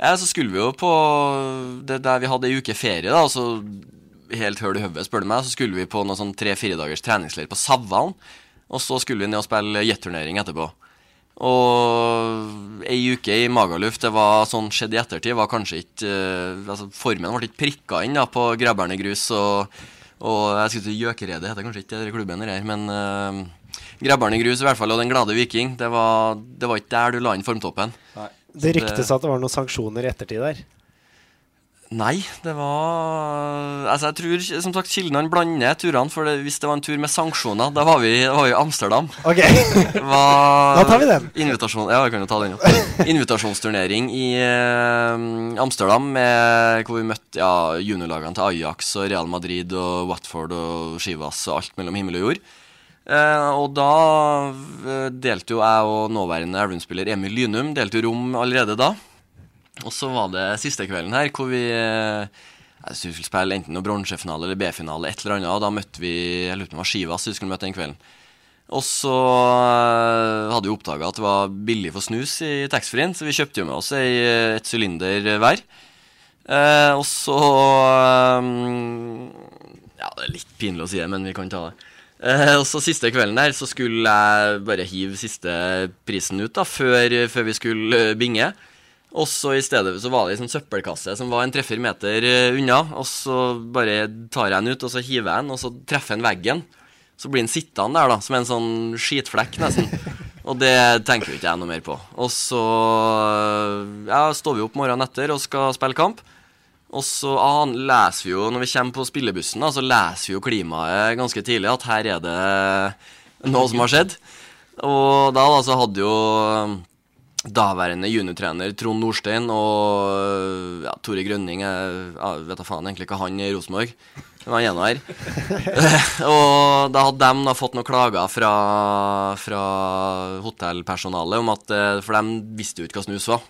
E: ja, så skulle vi jo på det der vi hadde ei uke ferie, da, og så helt høl i hodet, spør du meg, så skulle vi på noe sånn tre-fire dagers treningsleir på Savalen. Og så skulle vi ned og spille jetturnering etterpå. Og ei uke i Magaluf, det var sånn skjedd i ettertid, var kanskje ikke eh, altså Formen ble ikke prikka inn da, på Græberne grus og, og jeg skulle si Gjøkeredet, heter kanskje ikke det klubben der, men uh, Græberne grus i hvert fall, og Den glade viking, det var, det var ikke der du la inn formtoppen.
D: Det ryktes at det var noen sanksjoner i ettertid
E: [laughs]
D: der.
E: Nei, det var Altså, jeg tror som sagt kilden han blander turene, for det, hvis det var en tur med sanksjoner, da var vi da var vi i Amsterdam.
D: Ok.
E: Var-
D: Da tar vi den.
E: Invitasjon, ja, jeg kan jo ta den, jo. Invitasjonsturnering i eh, Amsterdam, med, hvor vi møtte ja, juniorlagene til Ajax og Real Madrid og Watford og Chivas og alt mellom himmel og jord. Eh, og da eh, delte jo jeg og nåværende Elverum-spiller Emil Lynum delte jo rom allerede da. Og så var det siste kvelden her hvor vi eh, jeg synes vi skulle spille enten noe bronsefinale eller B-finale, et eller annet, og da møtte vi jeg lurer på om det var Skivas vi skulle møte den kvelden. Og så eh, hadde vi oppdaga at det var billig for snus i taxfree-en, så vi kjøpte jo med oss ei, eh, et sylinder hver. Eh, og så eh, Ja, det er litt pinlig å si det, men vi kan ta det. Eh, og så Siste kvelden der så skulle jeg bare hive siste prisen ut da, før, før vi skulle eh, binge. Og så i stedet så var det ei sånn søppelkasse som var en treffer meter eh, unna. Og så bare tar jeg den ut, og så hiver jeg den, og så treffer den veggen. Så blir den sittende der, da, som en sånn skitflekk, nesten. Og det tenker jo ikke jeg noe mer på. Og så eh, ja, står vi opp morgenen etter og skal spille kamp. Og så an- leser vi jo, når vi kommer på spillebussen, da, så leser vi jo klimaet ganske tidlig, at her er det noe som har skjedd. Og da da, så hadde jo daværende juniortrener Trond Nordstein og ja, Tore Grønning Jeg ja, vet da faen egentlig ikke han i Rosenborg. Men han er nå her. [laughs] og da hadde de da fått noen klager fra, fra hotellpersonalet om at eh, For de visste jo ikke hva snus var.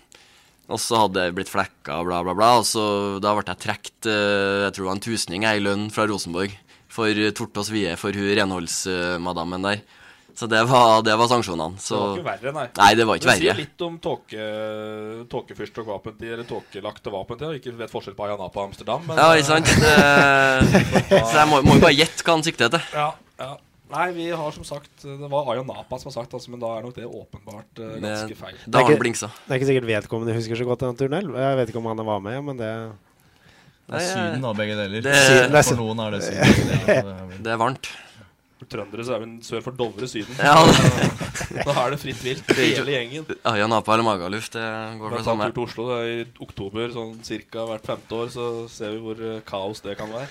E: Og så hadde jeg blitt flekka og bla, bla, bla. Og så da ble jeg trukket eh, jeg tror det var en tusning jeg, i lønn fra Rosenborg for eh, Tortås Vie, for hun renholdsmadammen der. Så det var, det var sanksjonene. Så,
C: det var ikke verre, nei.
E: Nei, det var ikke
C: Det
E: verre.
C: sier litt om tåke, tåkefyrst og vapentid, eller tåkelagte vapentid. Ikke vet forskjell på Ayanapa og Amsterdam. men-
E: Ja, ikke sant? Det, så jeg må må jo bare gjette hva han sikter etter.
C: Ja, ja. Nei, vi har som sagt Det var Ayanapa som har sagt altså, men da er nok det åpenbart eh, ganske feil.
D: Det er ikke- Det er ikke sikkert vedkommende husker så godt den turen heller. Jeg vet ikke om han var med, men det
F: Det er Syden, da, begge deler.
D: Det- Syden, det er
F: For
D: Syden.
F: noen er det Syden.
E: Det er varmt.
C: For trøndere så er vi sør for Dovre Syden.
E: Ja,
C: Så [laughs] da er det fritt vilt. Hele gjengen.
E: Øya Napa eller Magaluf, det går for
C: Blant
E: det sånn samme.
C: annet tur til Oslo det er i oktober, sånn cirka hvert femte år, så ser vi hvor eh, kaos det kan være.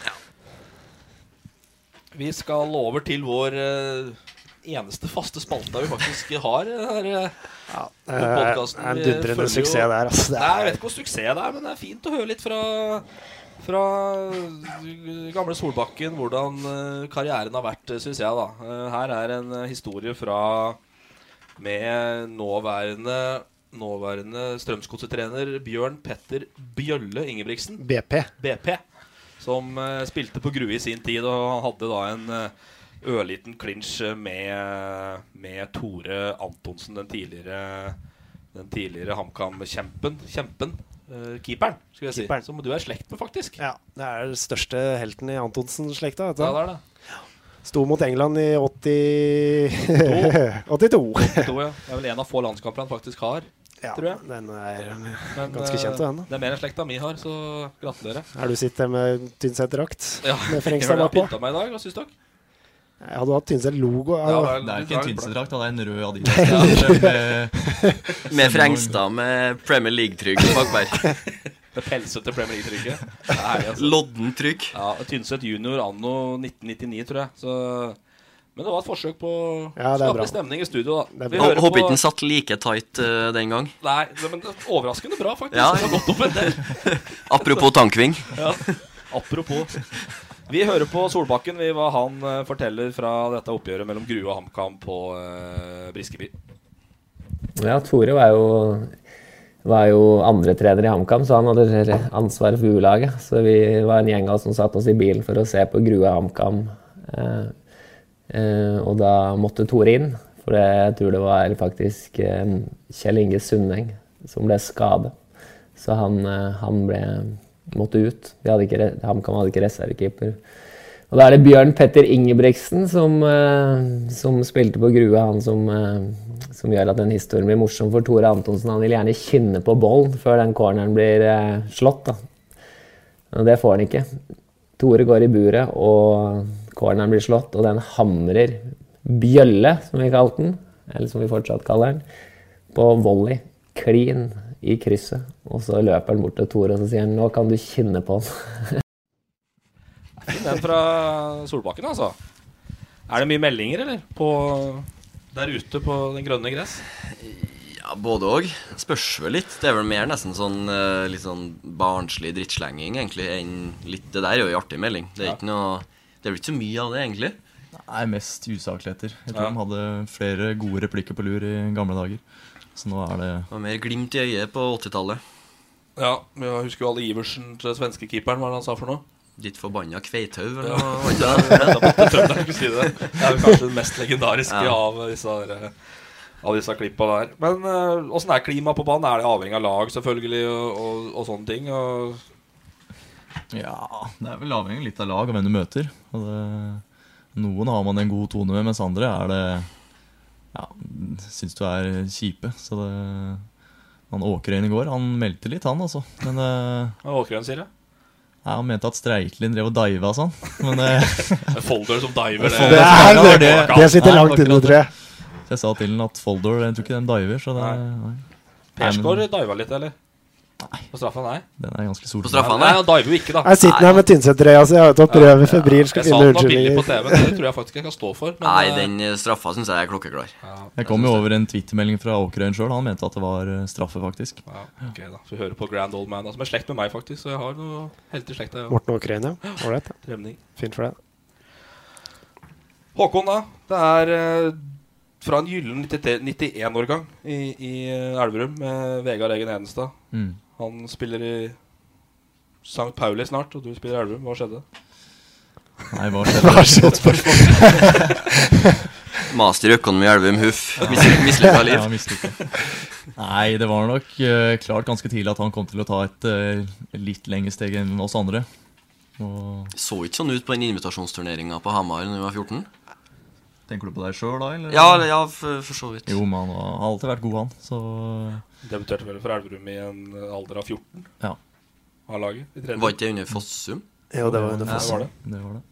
C: Vi skal over til vår eh, eneste faste spalta vi faktisk har. eh, Her, eh, på
D: det er-
C: podcasten.
D: det er en
C: Vi
D: dundrende
C: følger jo-
D: suksess der, altså. Det er-
C: Nei, jeg vet ikke hvor suksess det er, men det er fint å høre litt fra fra eh, gamle Solbakken hvordan eh, karrieren har vært, syns jeg. da Eh, Her er en eh, historie fra med nåværende Nåværende Strømsgodset-trener Bjørn Petter Bjølle Ingebrigtsen.
D: BP.
C: BP. Som eh, spilte på Grue i sin tid, og han hadde da en eh, ørliten klinsj eh, med, med Tore Antonsen, den tidligere Den tidligere HamKam-kjempen. Kjempen. eh, keeperen, skulle jeg si.
D: Keeperen.
C: Som du er i slekt med, faktisk.
D: Ja, det er den største helten i Antonsen-slekta. vet du.
C: Ja, det er det.
D: Sto mot England i 80... 82. [laughs]
C: 82, ja. Det er vel en av få landskamper han faktisk har.
D: Ja,
C: tror jeg.
D: Den er
C: Men,
D: ganske
C: eh,
D: kjent, den.
C: Det er mer enn slekta mi har, så gratulerer.
D: Er du sitter med Tynset-drakt?
C: Ja,
D: [laughs] Med
C: jeg
D: Frengstad
C: har
D: bakpå?
C: pynta meg i dag, hva syns dere?
D: Jeg hadde hatt Tynset-logo.
F: det, er ikke en Tynset-drakt, da, det er en rød
D: Det er en
F: Adidas. eh,
D: rød.
E: Med Frengstad med Premier League-trygg bak der.
C: Det pelsete Premier
F: [laughs]
C: League-trykket. Det er det, altså.
E: Lodden-trykk.
C: Ja, Tynset junior anno 1999, tror jeg. Så, men det var et forsøk på å
E: Ja, det er bra.
C: skape stemning i studio, da. Vi hører
E: Håper
C: på-
E: ikke den satt like tight eh, den gang.
C: Nei, det- men det er overraskende bra, faktisk.
E: Ja.
C: Det har gått opp en del.
E: Apropos tankving.
C: Ja, apropos. Vi hører på Solbakken vi, hva han eh, forteller fra dette oppgjøret mellom Grue og HamKam på eh, Briskeby.
K: Ja, Tore var jo, var jo andretrener i HamKam, så han hadde ansvaret for U-laget. Så vi var en gjeng av oss som satt oss i bilen for å se på Grue HamKam. Eh, eh, og da måtte Tore inn, for det, jeg tror det var faktisk eh, Kjell Inge Sundeng som ble skadet. Så han, eh, han ble, måtte ut. De hadde ikke, re- HamKam hadde ikke reservekeeper. Og da er det Bjørn Petter Ingebrigtsen som, eh, som spilte på Grue, han som, eh, som gjør at den historien blir morsom for Tore Antonsen. Han vil gjerne kynne på bollen før den corneren blir eh, slått. da. Men det får han ikke. Tore går i buret, og corneren blir slått, og den hamrer bjølle, som vi kalte den, eller som vi fortsatt kaller den, på volley. Klin i krysset. Og så løper han bort til Tore og så sier han, nå kan du kynne på den.
C: Fin Den fra Solbakken, altså. Er det mye meldinger, eller? På, der ute på den grønne gress?
E: Ja, både òg. Spørs vel litt. Det er vel mer nesten sånn eh, litt sånn barnslig drittslenging, egentlig, enn litt Det der er jo en artig melding. Det er
F: Ja.
E: ikke noe Det er vel ikke så mye av det, egentlig.
F: Nei, mest usakligheter. Jeg tror
E: Ja.
F: de hadde flere gode replikker på lur i gamle dager. Så nå er det
E: Det var mer glimt i øyet på 80-tallet.
C: Ja, jeg husker jo alle Iversen til svenske keeperen, hva var det han sa for noe?
E: Ditt forbanna kveithaug,
C: Ja.
E: eller noe.
C: Ja, det er nettopp at trønderen skulle si det. Det er jo kanskje det mest legendariske
E: Ja.
C: av disse, her, eh, av disse klippa der. Men eh, åssen er klimaet på banen? Er det avhengig av lag, selvfølgelig, og, og, og sånne ting? Og
F: Ja, det er vel avhengig litt av lag og hvem du møter. Og det, noen har man en god tone med, mens andre er det Ja, syns du er kjipe. Så det Han Åkerøyen i går, han meldte litt, han altså. Men eh,
C: hva er Åkerøyen sier det?
F: Nei, Han mente at Streitlin drev og diva og sånn, men eh,
C: Folder som diver, [laughs] det-
F: Folder
C: Det
F: som
C: er-
F: diver,
C: det- det sitter
F: Nei,
C: langt inne,
F: akkurat
C: tror jeg.
F: det. Så jeg sa til han at Folder Jeg tror ikke den diver, så det nei.
C: Persgaard diva litt, eller? Nei. På straffa, nei?
F: Den er ganske solklar.
C: På straffa, nei. Han diver jo ikke, da.
D: Jeg sitter her med Tynset-trøya si, jeg vet at Røve febrilsk skal
E: Jeg sa
D: finne
E: den var billig
C: På
D: unnskyldninger.
C: TV, det tror jeg faktisk jeg kan stå for. Men,
E: Nei,
C: eh,
E: den eh, straffa syns jeg er klokkeklar.
F: Jeg kom jo over en twittermelding fra Åkerøyen sjøl. Han mente at det var eh, straffe, faktisk.
C: ja, ok da, så Vi hører på Grand Old Man, da, som er slekt med meg, faktisk. Så jeg har noe helt i slekta. ja.
D: Morten Åkerøyen, ja. Ålreit.
C: Tremning.
D: Fint for det.
C: Håkon, da. Det er eh, fra en gyllen 91-årgang i, i eh, Elverum med Vegard Egen Hedenstad.
F: Mm.
C: Han spiller i St. Pauli snart, og du spiller i Elverum. Hva skjedde?
F: Nei,
C: [laughs]
F: hva
E: Hva skjedde? Master i økonomi i Elverum, huff. Mis- Mislykka liv. [laughs]
F: Ja, mislykka. [laughs] Nei, det var nok eh, klart ganske tidlig at han kom til å ta et eh, litt lengre steg enn oss andre. Og
E: Så ikke sånn ut på den invitasjonsturneringa på Hamar da vi var 14.
F: Tenker du på deg sjøl da, eller?
E: Ja, eller- ja for, for så vidt.
F: Jo, men han har alltid vært god, han. Så eh,
C: Debuterte vel for Elverum i en eh, alder av 14
F: Ja.
C: av laget. i tredje.
E: Var ikke det under Fossum?
D: Jo, det var under
F: Ja,
D: Fossum.
F: det. det var det.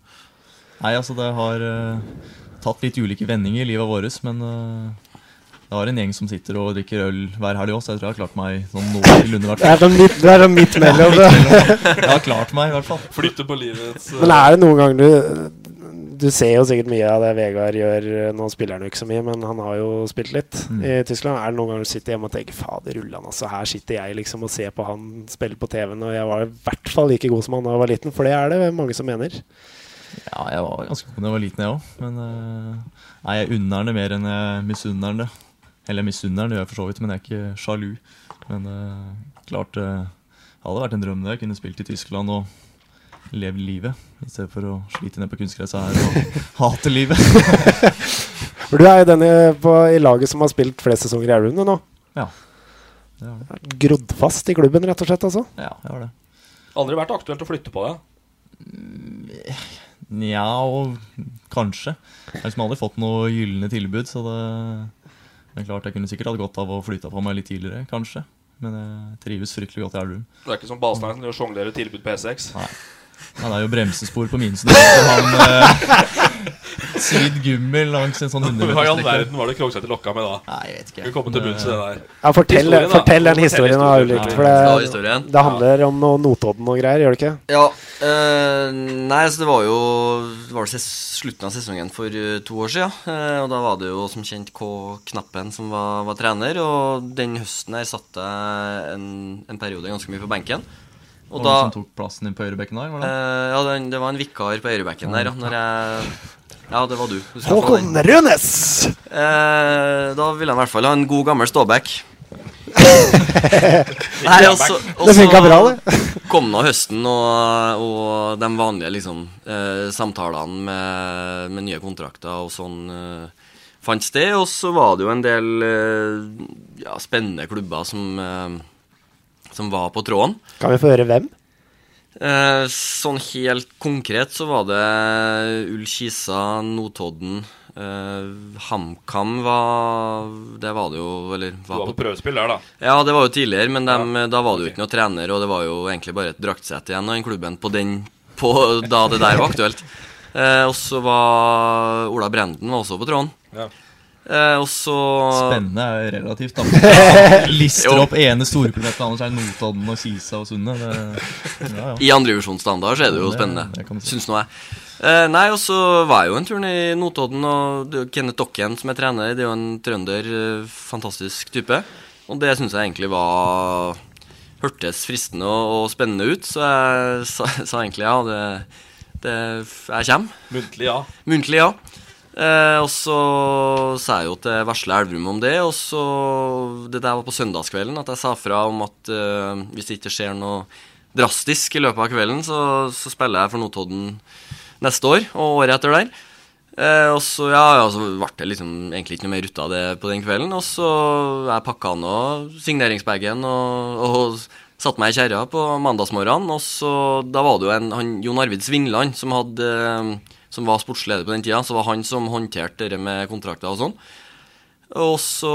F: Nei, altså, det har eh, tatt litt ulike vendinger i livet vårt, men eh, det har en gjeng som sitter og drikker øl hver helg òg, så jeg tror jeg har klart meg sånn noenlunde, i hvert
D: Det er
F: fall.
D: sånn midt- det er sånn midt
F: Ja,
D: mellom,
F: midt
D: det.
F: mellom. Jeg har klart meg, i hvert fall.
C: Flytte på livets eh,
D: [laughs] Men er det noen ganger du Du ser jo sikkert mye av det Vegard gjør. eh, Nå spiller han jo ikke så mye, men han har jo spilt litt
F: Mm.
D: i Tyskland. Er det noen ganger du sitter hjemme og tenker Fader rullan, altså. Her sitter jeg liksom og ser på han spille på TV-en, og jeg var i hvert fall like god som han da jeg var liten. For det er det mange som mener.
F: Ja, jeg var ganske god da jeg var liten, jeg òg. Men eh, nei, jeg unner den det mer enn jeg misunner den det. Eller jeg misunner den, det gjør jeg for så vidt, men jeg er ikke sjalu. Men eh, klart det hadde vært en drøm det. Jeg kunne spilt i Tyskland og levd livet. I stedet for å slite ned på kunstgresset her og [laughs] hate livet.
D: For du er jo den i, på, i laget som har spilt flest sesonger i Elverum du, nå.
F: Ja.
D: Grodd fast i klubben, rett og slett, altså?
F: Ja, jeg har det.
C: Aldri vært aktuelt å flytte på deg?
F: Nja, og kanskje. Jeg har liksom aldri fått noe gyllene tilbud, så det Men klart, jeg kunne sikkert hatt godt av å flytte på meg litt tidligere, kanskje. Men jeg trives fryktelig godt i Elverum.
C: Det er ikke som Balstein som sjonglerer tilbud E P6.
F: Nei. Ja, det er jo bremsespor på minsen. Så han eh, svidd gummi langs en sånn 100
C: Hva i all verden var det Krogsæter lokka med da?
F: Nei, jeg vet ikke. eh,
C: Vi kommer til bunns i det der.
D: Ja, fortell,
C: Historien, da.
D: fortell den historien av Ulrik. For
E: Ja,
D: det,
E: historien.
D: det handler om noe Notodden og greier, gjør det ikke?
E: Ja. eh, nei, så det var jo det var det ses slutten av sesongen for eh, to år siden. eh, og da var det jo som kjent K. Knappen som var, var trener. Og den høsten her satt jeg en, en periode ganske mye på benken. Og
F: Og da
E: da
F: som tok plassen din på høyrebekken der, var det?
E: eh, Ja, den, det var en vikar på høyrebekken der, ja. Når jeg Ja, det var du. Du skal få
D: Håkon
E: den.
D: Rønes!
E: Eh, da ville han i hvert fall ha en god, gammel ståbekk.
D: [laughs]
E: altså,
D: Det funka bra, det.
E: [laughs] kom nå høsten og, og de vanlige liksom, eh, samtalene med, med nye kontrakter og sånn eh, fant sted. Og så var det jo en del eh, ja, spennende klubber som, eh, som var på tråden.
D: Kan vi få høre hvem?
E: Eh, sånn helt konkret så var det Ull-Kisa, Notodden eh, HamKam var Det var det jo, eller
C: Du var på prøvespill der, da.
E: Ja, det var jo tidligere, men dem, da var det jo ikke noe trener, og det var jo egentlig bare et draktsett igjen av den klubben på den på, da det der var aktuelt. Eh, og så var Ola Brenden var også på tråden.
F: Ja.
E: Eh, og så
F: Spennende er jo
E: [laughs]
F: relativt, da. Lister
E: Jo.
F: opp ene storklubben etter den andre, så er det Notodden og Kisa og Sunne. Det, ja, ja.
E: I andrevisjonsstandard så er det jo
F: Det- det kan
E: spennende,
F: man si.
E: syns nå jeg. Eh, nei, og så var jeg jo en tur ned i Notodden, og det er jo Kenneth Dokken som er trener, det er jo en trønder, eh, fantastisk type. Og det syns jeg egentlig var Hørtes fristende og, og spennende ut, så jeg sa, [laughs] sa egentlig ja. Det, det, jeg kommer.
C: Muntlig ja.
E: Muntlig ja. Eh, og så sa jeg jo til Vesle Elverum om det, og så Det der var på søndagskvelden at jeg sa fra om at eh, hvis det ikke skjer noe drastisk i løpet av kvelden, så, så spiller jeg for Notodden neste år og året etter der. Eh, og så ja, ja, så ble det liksom egentlig ikke noe mer ut av det på den kvelden. Og så jeg pakka nå signeringsbagen og, og satte meg i kjerra på mandagsmorgenen. Og så da var det jo en han, Jon Arvid Svingland som, hadde, eh, som var sportsleder på den tida. Så var han som håndterte det med kontrakter og sånn. Og så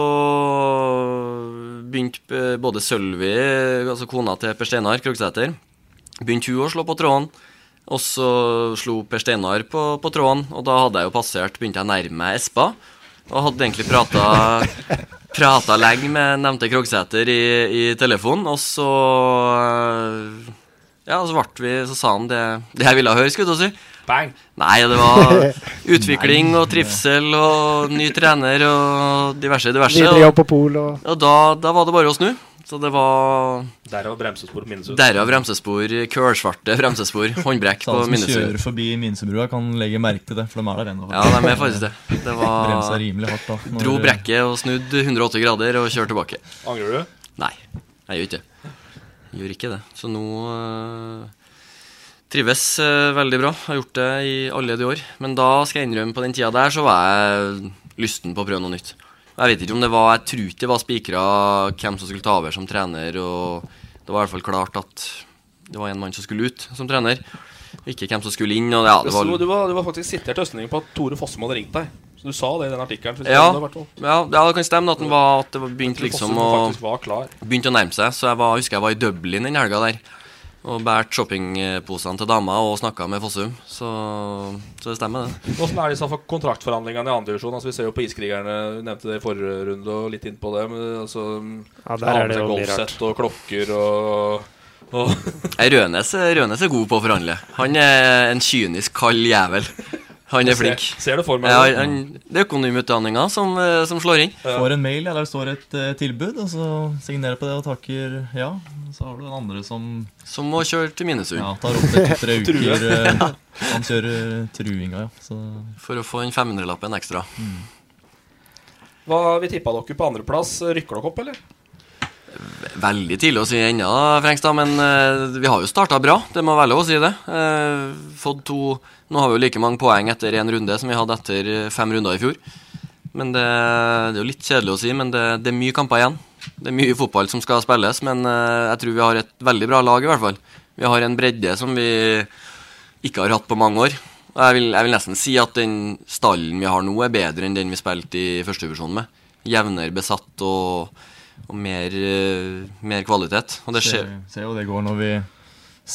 E: begynte eh, både Sølvi, altså kona til Per Steinar Krogsæter, begynte hun å slå på tråden. Og så slo Per Steinar på, på tråden, og da hadde jeg jo passert, begynte jeg å nærme meg Espa. Og hadde egentlig prata, prata lenge med nevnte Krogsæter i, i telefonen, og så eh, Ja, så ble vi Så sa han det, det jeg ville høre, skulle jeg til å si.
C: Bang!
E: Nei, det var utvikling og trivsel og ny trener og diverse, diverse.
D: Videre
E: og-
D: jobb på Pol og
E: og da, da var det bare å snu. Så det var
C: Derav bremsespor på Minnesund.
E: Derav bremsespor, kølsvarte bremsespor, håndbrekk
F: Så alle
E: på
F: Sånn som
E: Minnesund.
F: kjører forbi Minsebrua, kan legge merke til det, for de er der ennå.
E: Ja, de er
F: [laughs]
E: faktisk det. det var,
F: Bremsa rimelig hardt da. når-
E: Dro brekket og snudd 180 grader og kjørte tilbake.
C: Angrer du?
E: Nei, jeg gjør ikke det. Jeg Gjør ikke det. Så nå øh, trives øh, veldig bra. Har gjort det i alle de år. Men da skal jeg innrømme, på den tida der så var jeg lysten på å prøve noe nytt. Jeg vet ikke om det var Jeg tror ikke det var spikra hvem som skulle ta over som trener, og det var i hvert fall klart at det var en mann som skulle ut som trener. Ikke hvem som skulle inn. Og ja, det
C: Så
E: var
C: du, var, du var faktisk sitert østlending på at Tore Fossum hadde ringt deg. Så Du sa det i den artikkelen. hvis
E: Ja,
C: det var hvertfall.
E: ja, ja, det kan stemme da, at den var At det var begynt
C: Jeg tror
E: liksom
C: Fossum
E: å
C: faktisk var klar.
E: Begynte å nærme seg Så jeg var, husker jeg var i Dublin den helga der Og bært shoppingposene til dama Og snakket med Fossum Så, så det stemmer det
C: Hvordan er disse for- kontraktforhandlingene i andre divisjon? Altså, vi ser jo på Iskrigerne, du nevnte det i forrige runde og litt inn på det. Men, altså,
E: Ja, der
C: man har
E: er
C: med
E: det
C: seg
E: jo mye
C: golfsett og klokker og, og
E: Nei, Rønes, Rønes er god på å forhandle Han er en kynisk kald jævel Han er
C: Jeg ser-
E: flink
C: ser det for meg.
E: ja, han, Det er økonomiutdanninga som, eh, som slår inn
F: Får en mail ja, der det står et eh, tilbud, og så signerer på det og takker ja. Så har du den andre som
E: Som må kjøre til Minnesund.
F: Ja, tar opp det to-tre
E: True.
F: uker. eh,
E: Ja.
F: Han kjører truinga, ja. Så
E: For å få en 500-lappen ekstra
C: Hva, Vi tippa dere på andreplass. Rykker dere opp, eller?
E: Veldig tidlig å si ennå, Frengstad, men eh, vi har jo starta bra. Det må være lov å si det. Eh, fått to Nå har vi jo like mange poeng etter én runde som vi hadde etter eh, fem runder i fjor. Men det, det er jo litt kjedelig å si, men det, det er mye kamper igjen. Det er mye fotball som skal spilles, men eh, jeg tror vi har et veldig bra lag, i hvert fall. Vi har en bredde som vi ikke har hatt på mange år. Og Jeg vil, jeg vil nesten si at den stallen vi har nå, er bedre enn den vi spilte i førstevisjonen med. jevnere besatt og, og mer, eh, mer kvalitet. Og det skjer.
F: Ser- Ser jo det går når vi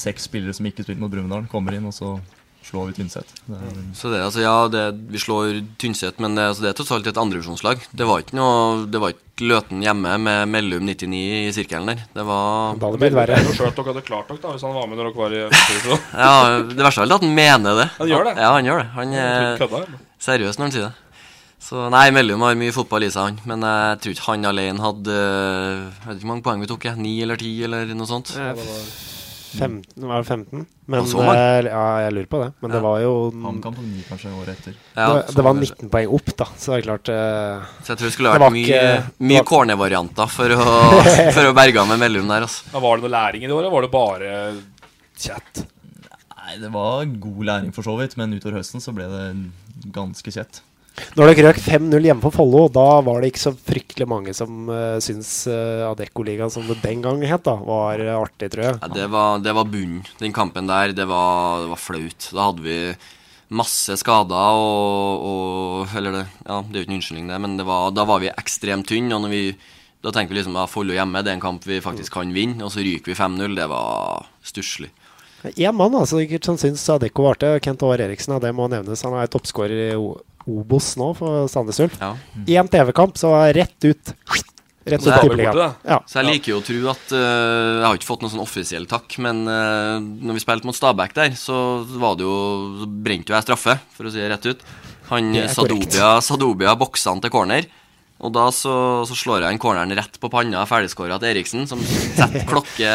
F: seks spillere som ikke spilte mot Brumunddal, kommer inn, og så slår vi Tynset. Det er-
E: Så det, altså, ja, det, vi slår Tynset, men det, altså, det er tross alt et andrevisjonslag. Det var ikke noe, det var ikke Løten hjemme med Mellum 99 i sirkelen der. Det var
C: Det er jo skjønt dere hadde klart dere da, hvis han var med når dere var i Østersund.
E: [laughs] Ja, Det verste av alt er at han mener det.
C: Han gjør det?
E: Ja, eh, han gjør det. Han
C: Jeg tror du kødda,
E: er
C: eller?
E: seriøs når han sier det. Så Nei, Mellum har mye fotball i seg, han. Men jeg tror ikke han alene hadde Jeg vet ikke hvor mange poeng vi tok, jeg. Ni eller ti, eller noe sånt?
D: Eh, f- 15, var det 15? Men
E: Ja, så mange.
D: eh, ja, jeg lurer på det. Men det var jo
F: HamKam tok ni kanskje året etter.
D: det, det var 19 poeng opp, da, så det er klart eh,
E: Så jeg tror det skulle
D: var
E: vært mye,
D: ikke-
E: mye cornervarianter for å, [laughs] for å berge han med Mellum der, altså.
C: Ja, var det noe læring i det året? Var det bare chat?
F: Nei, det var god læring for så vidt, men utover høsten så ble det ganske kjett.
D: Når dere røk 5-0 hjemme på Follo, da var det ikke så fryktelig mange som uh, syntes uh, Adeccoligaen, som det den gang het, da, var eh, artig, tror jeg.
E: Ja, det, var, det var bunnen. Den kampen der, det var, det var flaut. Da hadde vi masse skader og, og Eller det, ja, det er jo ikke en unnskyldning, det, men det var, da var vi ekstremt tynne. Og når vi, da tenker vi liksom at Follo hjemme det er en kamp vi faktisk kan vinne, og så ryker vi 5-0. Det var stusslig.
D: Én mann altså, ikke som syns Adecco var artig, Kent Aar Eriksen, ja, det må nevnes. Han er toppskårer i O- Obos nå for Sandnes Ulf. Én TV-kamp, så var jeg rett ut. Rett ut
E: Så
D: av
E: jeg-
D: tippeligaen. Ja.
E: Så jeg liker jo å tro at eh, Jeg har ikke fått noen sånn offisiell takk, men uh, når vi spilte mot Stabæk der, så var det jo Så brente jo jeg straffe, for å si det rett ut. Han
L: Det er korrekt.
E: Sadobia, Sadobia boksa han til corner. Og da så, så slår jeg den corneren rett på panna ferdigskåra til Eriksen, som setter klokke,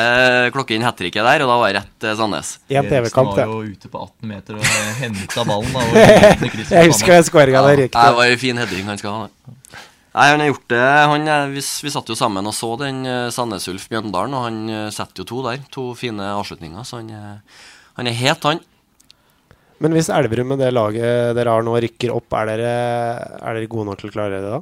E: klokke inn hat tricket der, og da var jeg rett til Sandnes.
D: En TV-kamp,
F: var
D: det.
F: jo ute på 18 meter og henta ballen.
D: [laughs]
F: Da, og
D: Jeg husker jeg skåringa der.
E: Nei, Det
D: Riktig.
E: var en fin heading han skal ha. det. Nei, han har gjort det. Han, er- vi, s- vi satt jo sammen og så den eh, Sandnes Ulf Mjøndalen, og han eh, setter jo to der. To fine avslutninger, så han, er- han er het, han.
D: Men hvis Elverum med det laget dere har nå, rykker opp, er dere, er dere gode nok til å klare det da?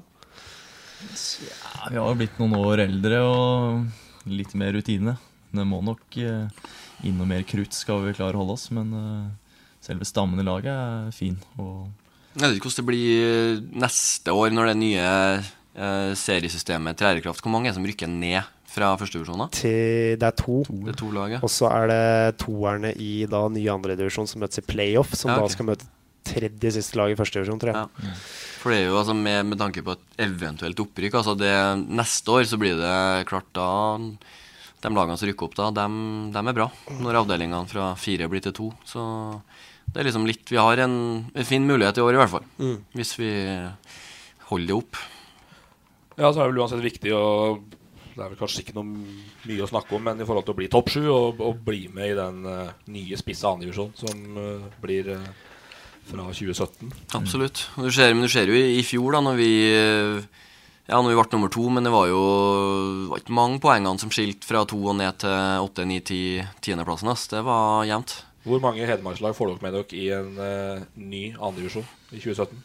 F: Ja, vi har jo blitt noen år eldre og litt mer rutine. Det må nok eh, inn noe mer krutt skal vi klare å holde oss, men eh, selve stammen i laget er fin. Og
E: Jeg vet ikke hvordan det blir eh, neste år når det nye eh, seriesystemet trer i kraft. Hvor mange er det som rykker ned fra førstedivisjon?
D: til Det er to.
E: Det er to lag, ja.
D: Og så er det toerne i da ny andredivisjon som møtes i playoff, som
E: Ja, ok.
D: da skal møte tredje siste lag i førstedivisjon, tror jeg.
E: For det er jo altså med, med tanke på et eventuelt opprykk altså det, Neste år så blir det klart da De lagene som rykker opp da, dem, dem er bra. Når avdelingene fra fire blir til to. Så det er liksom litt Vi har en, en fin mulighet i år, i hvert fall.
C: Mm.
E: Hvis vi holder det opp.
C: Ja, så er det vel uansett viktig å Det er vel kanskje ikke noe mye å snakke om, men i forhold til å bli topp sju og, og bli med i den eh, nye spisse andredivisjonen som eh, blir eh, fra 2017.
E: Absolutt. Og Du ser, men du ser jo i, i fjor, da, når vi eh, Ja, når vi ble nummer to, men det var jo det var ikke mange poengene som skilte fra to og ned til åtte, ni, ti, tiendeplassen. ass. Det var jevnt.
C: Hvor mange hedmarkslag får dere med dere i en eh, ny andredivisjon i 2017?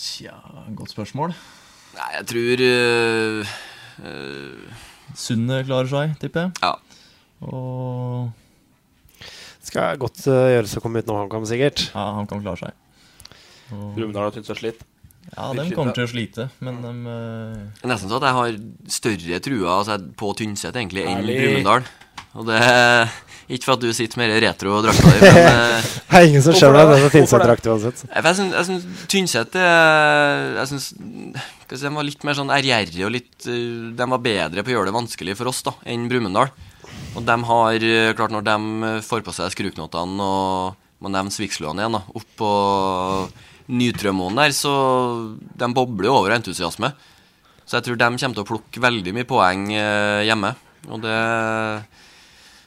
F: Tja, godt spørsmål.
E: Nei, jeg tror øh, øh,
F: Sundet klarer seg, tipper jeg.
E: Ja.
F: Og
D: Det skal godt eh, gjøres å komme utenom HamKam,
F: [laughs]
D: sikkert.
F: Ja, HamKam klarer seg. Og-
C: Brumunddal og Tynset slitt.
F: ja, de kommer til å slite, men de eh,
E: Det er nesten så at jeg har større trua altså, på Tynset egentlig enn
F: Ærlig.
E: Brumunddal. Og det Ikke for at du sitter med de retro-drakta di, men eh,
D: Det er ingen som skjønner at
E: Hvorfor
D: det er
E: Hvorfor
D: Tynset-drakt uansett.
E: Nei, for Jeg syns- jeg syns Tynset eh, Jeg syns hva skal jeg si, de var litt mer sånn ærgjerrige og litt eh, De var bedre på å gjøre det vanskelig for oss da enn Brumunddal. Og de har eh, Klart, når de eh, får på seg skruknottene og må nevne Sviksløen igjen, da, oppå Nytrømoen der, så de bobler jo over av entusiasme. Så jeg tror de kommer til å plukke veldig mye poeng eh, hjemme. Og det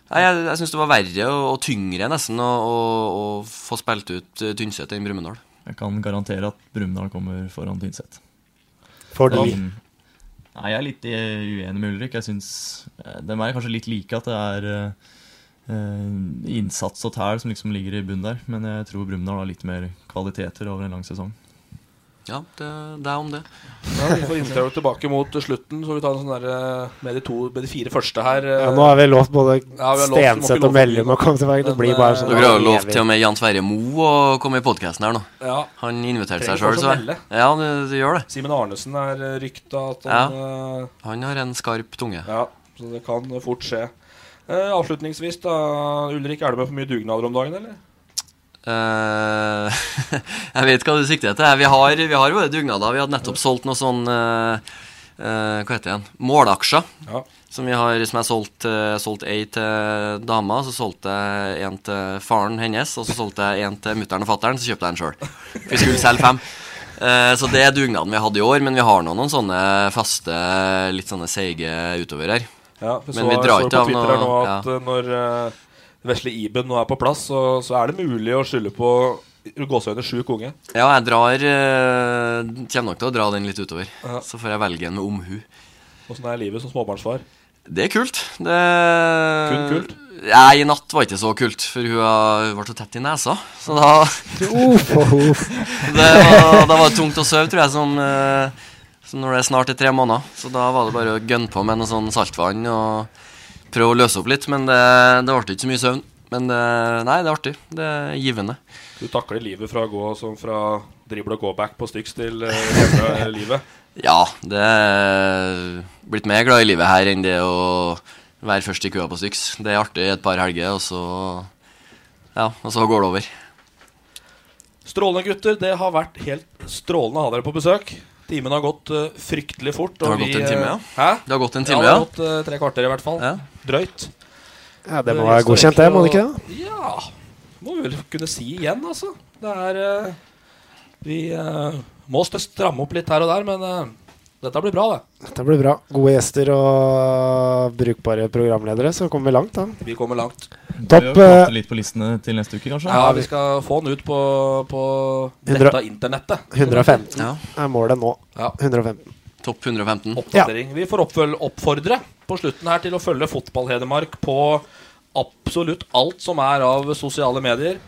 E: Nei, jeg, jeg syns det var verre og, og tyngre nesten å, å, å få spilt ut eh, Tynset enn Brumunddal.
F: Jeg kan garantere at Brumunddal kommer foran Tynset.
D: Får du-
F: Men- Nei, jeg er litt eh, uenig med Ulrik. Jeg synes, eh, De er kanskje litt like at det er eh, eh, innsats og tæl som liksom ligger i bunnen der. Men jeg tror Brumunddal har litt mer kvaliteter over en lang sesong.
E: Ja, det, det er om det.
C: Ja, vi får intervjue tilbake mot slutten, så vi tar en sånn der, eh, med, de to, med de fire første her. eh.
D: Ja, nå har vi lovt både
C: Ja, vi har lovt- vi må ikke
D: Stenseth
C: love
D: og
C: for mye
D: Mellum
C: nå.
D: å komme tilbake. Det
C: Men,
D: blir bare
C: eh,
D: sånn
E: Dere har jo lovt
D: evig.
E: til og med Jan Sverre Moe å komme i podkasten her nå.
C: Ja.
E: Han inviterte
C: Trenger
E: seg sjøl, så
C: fortsatt melde.
E: Ja, det, det gjør det.
C: Simen Arnesen er eh, rykta at
E: Ja.
C: han eh,
E: Han har en skarp tunge.
C: Ja, så det kan fort skje. Eh, avslutningsvis, da. Ulrik, er du med på mye dugnader om dagen, eller?
E: Eh, [laughs] jeg vet hva du sikter etter. Vi har, vi har våre dugnader. Vi hadde nettopp solgt noe sånn eh, eh, Hva heter det igjen? Målaksjer.
C: Ja.
E: Som, vi har, som jeg solgte uh, solgt ei til dama, så solgte jeg en til faren hennes, og så solgte jeg en til mutter'n og fatter'n, så kjøpte jeg en sjøl. Vi skulle selge fem. Eh, så det er dugnaden vi hadde i år, men vi har nå noen sånne faste, litt sånne seige utover her.
C: Ja, for så,
E: men vi drar
C: så
E: ikke
C: på
E: av
C: Twitter her nå
E: noe ja.
C: at eh, når eh, vesle Iben nå er på plass, så, så er det mulig å skylde på gåseøyne sjuk unge.
E: Ja, jeg drar eh, Kommer nok til å dra den litt utover.
C: Ja.
E: Så får jeg velge en med omhu.
C: Åssen sånn er livet som småbarnsfar?
E: Det er kult. Det...
C: Kun kult?
E: Nei, i natt var ikke så kult, for hun, har- hun var så tett i nesa. Så da
D: Uff, og uff.
E: det var, Da var det tungt å sove, tror jeg, som, eh, som når det er snart er tre måneder. Så da var det bare å gønne på med noe sånn saltvann og prøve å løse opp litt. Men det, det ble ikke så mye søvn. Men det, nei, det er artig. Det er givende.
C: Du takler livet fra å gå som fra dribble og gå-back på Styx til eh, hele [laughs] livet.
E: Ja, det er blitt mer glad i livet her enn det å være først i køa på Styx. Det er artig et par helger, og så Ja, og så går det over.
C: Strålende, gutter. Det har vært helt strålende å ha dere på besøk. Timen har gått eh, fryktelig fort.
E: Det har
C: og vi,
E: gått en time,
C: eh,
E: ja.
C: Hæ?
E: Det har gått en time,
C: ja. Det har
E: ja.
C: gått eh, tre kvarter, i hvert fall. Drøyt.
D: Ja, det må
C: Eh,
D: være
C: så
D: godkjent, det, må det ikke
C: egentlig å- Ja. Må vi vel kunne si igjen, altså. Det er eh, Vi eh, må stø- stramme opp litt her og der, men eh, dette blir bra, det.
D: Dette blir bra. Gode gjester og brukbare programledere, så kommer vi langt, da.
C: Vi kommer langt.
D: Topp,
F: Vi har gått litt på listene til neste uke, kanskje?
C: eh, Ja, vi skal få den ut på, på
D: Hundre-
C: dette internettet.
D: 115 er målet nå.
C: Ja.
D: 115.
E: Topp 115.
C: oppdatering. Vi får oppføl- oppfordre på slutten her til å følge Fotball-Hedmark på absolutt alt som er av sosiale medier.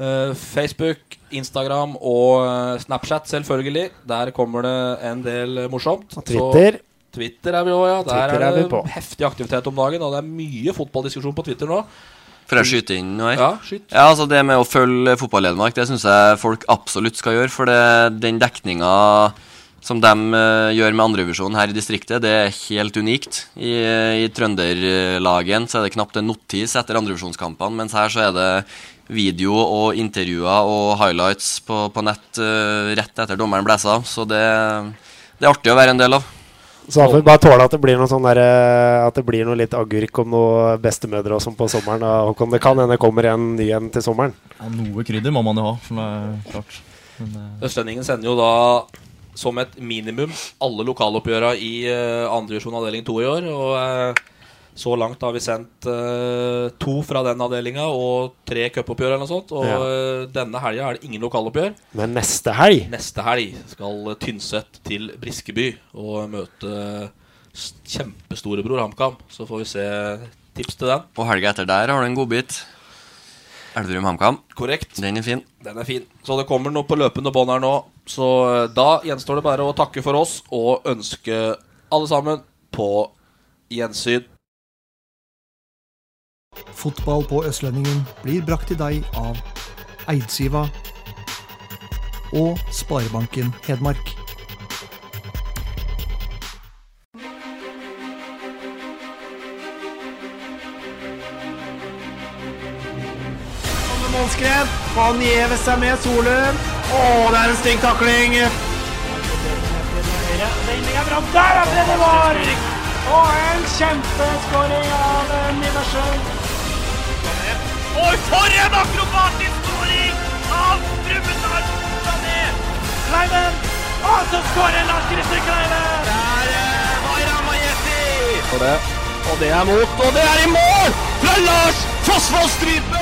C: Eh, Facebook, Instagram og eh, Snapchat, selvfølgelig. Der kommer det en del eh, morsomt.
D: Og Twitter.
C: Så, Twitter er vi òg, ja. Der
D: Twitter
C: er
D: er vi
C: det
D: på.
C: heftig aktivitet om dagen, og det er mye fotballdiskusjon på Twitter nå.
E: Får jeg skyte inn noe her?
C: Ja, skyt.
E: Ja, altså Det med å følge fotball-Hedmark det syns jeg folk absolutt skal gjøre. For det, den dekninga som de eh, gjør med andrevisjonen her i distriktet, det er helt unikt. I, i trønderlagen så er det knapt en notis etter andrevisjonskampene, mens her så er det video og intervjuer og highlights på, på nett eh, rett etter dommeren blåser av. Så det, det er artig å være en del av.
D: Så da får vi bare tåle at det blir noe sånn der, eh, At det blir noe litt agurk om noe bestemødre og sånn på sommeren. da, Håkon, det kan hende det kommer en ny en til sommeren.
F: Ja, noe krydder må man jo ha, for det er klart. Men, eh,
C: Østlendingen sender jo da som et minimum alle lokaloppgjøra i eh, andre divisjon avdeling 2 i år. Og eh, så langt har vi sendt eh, to fra den avdelinga og tre cupoppgjør eller noe sånt. Og eh, denne helga er det ingen lokaloppgjør.
D: Men neste helg
C: Neste helg skal Tynset til Briskeby og møte eh, s- kjempestorebror HamKam. Så får vi se tips til den.
E: Og helga etter der har du en godbit. Elverum-HamKam.
C: Korrekt.
E: Den er fin.
C: Den er fin. Så det kommer noe på løpende bånd her nå. Så eh, da gjenstår det bare å takke for oss og ønske alle sammen på gjensyn.
A: Fotball på Østlendingen blir brakt til deg av Eidsiva og Sparebanken Hedmark.
B: Kommer Målskred. Han gjever seg med Solum. Å, det er en stygg takling. Vendinga fram. Der er det var! Og en kjempeskåring av eh, Nidarsen. Oi, for en akrobatisk skåring av Brumunddal Sané! Kleiven! Og så skårer Lars Christer Kleiven! Der eh, var Ramajeti!
C: Og det,
B: og det er mot, og det er i mål! Fra Lars Fossvoll Strype!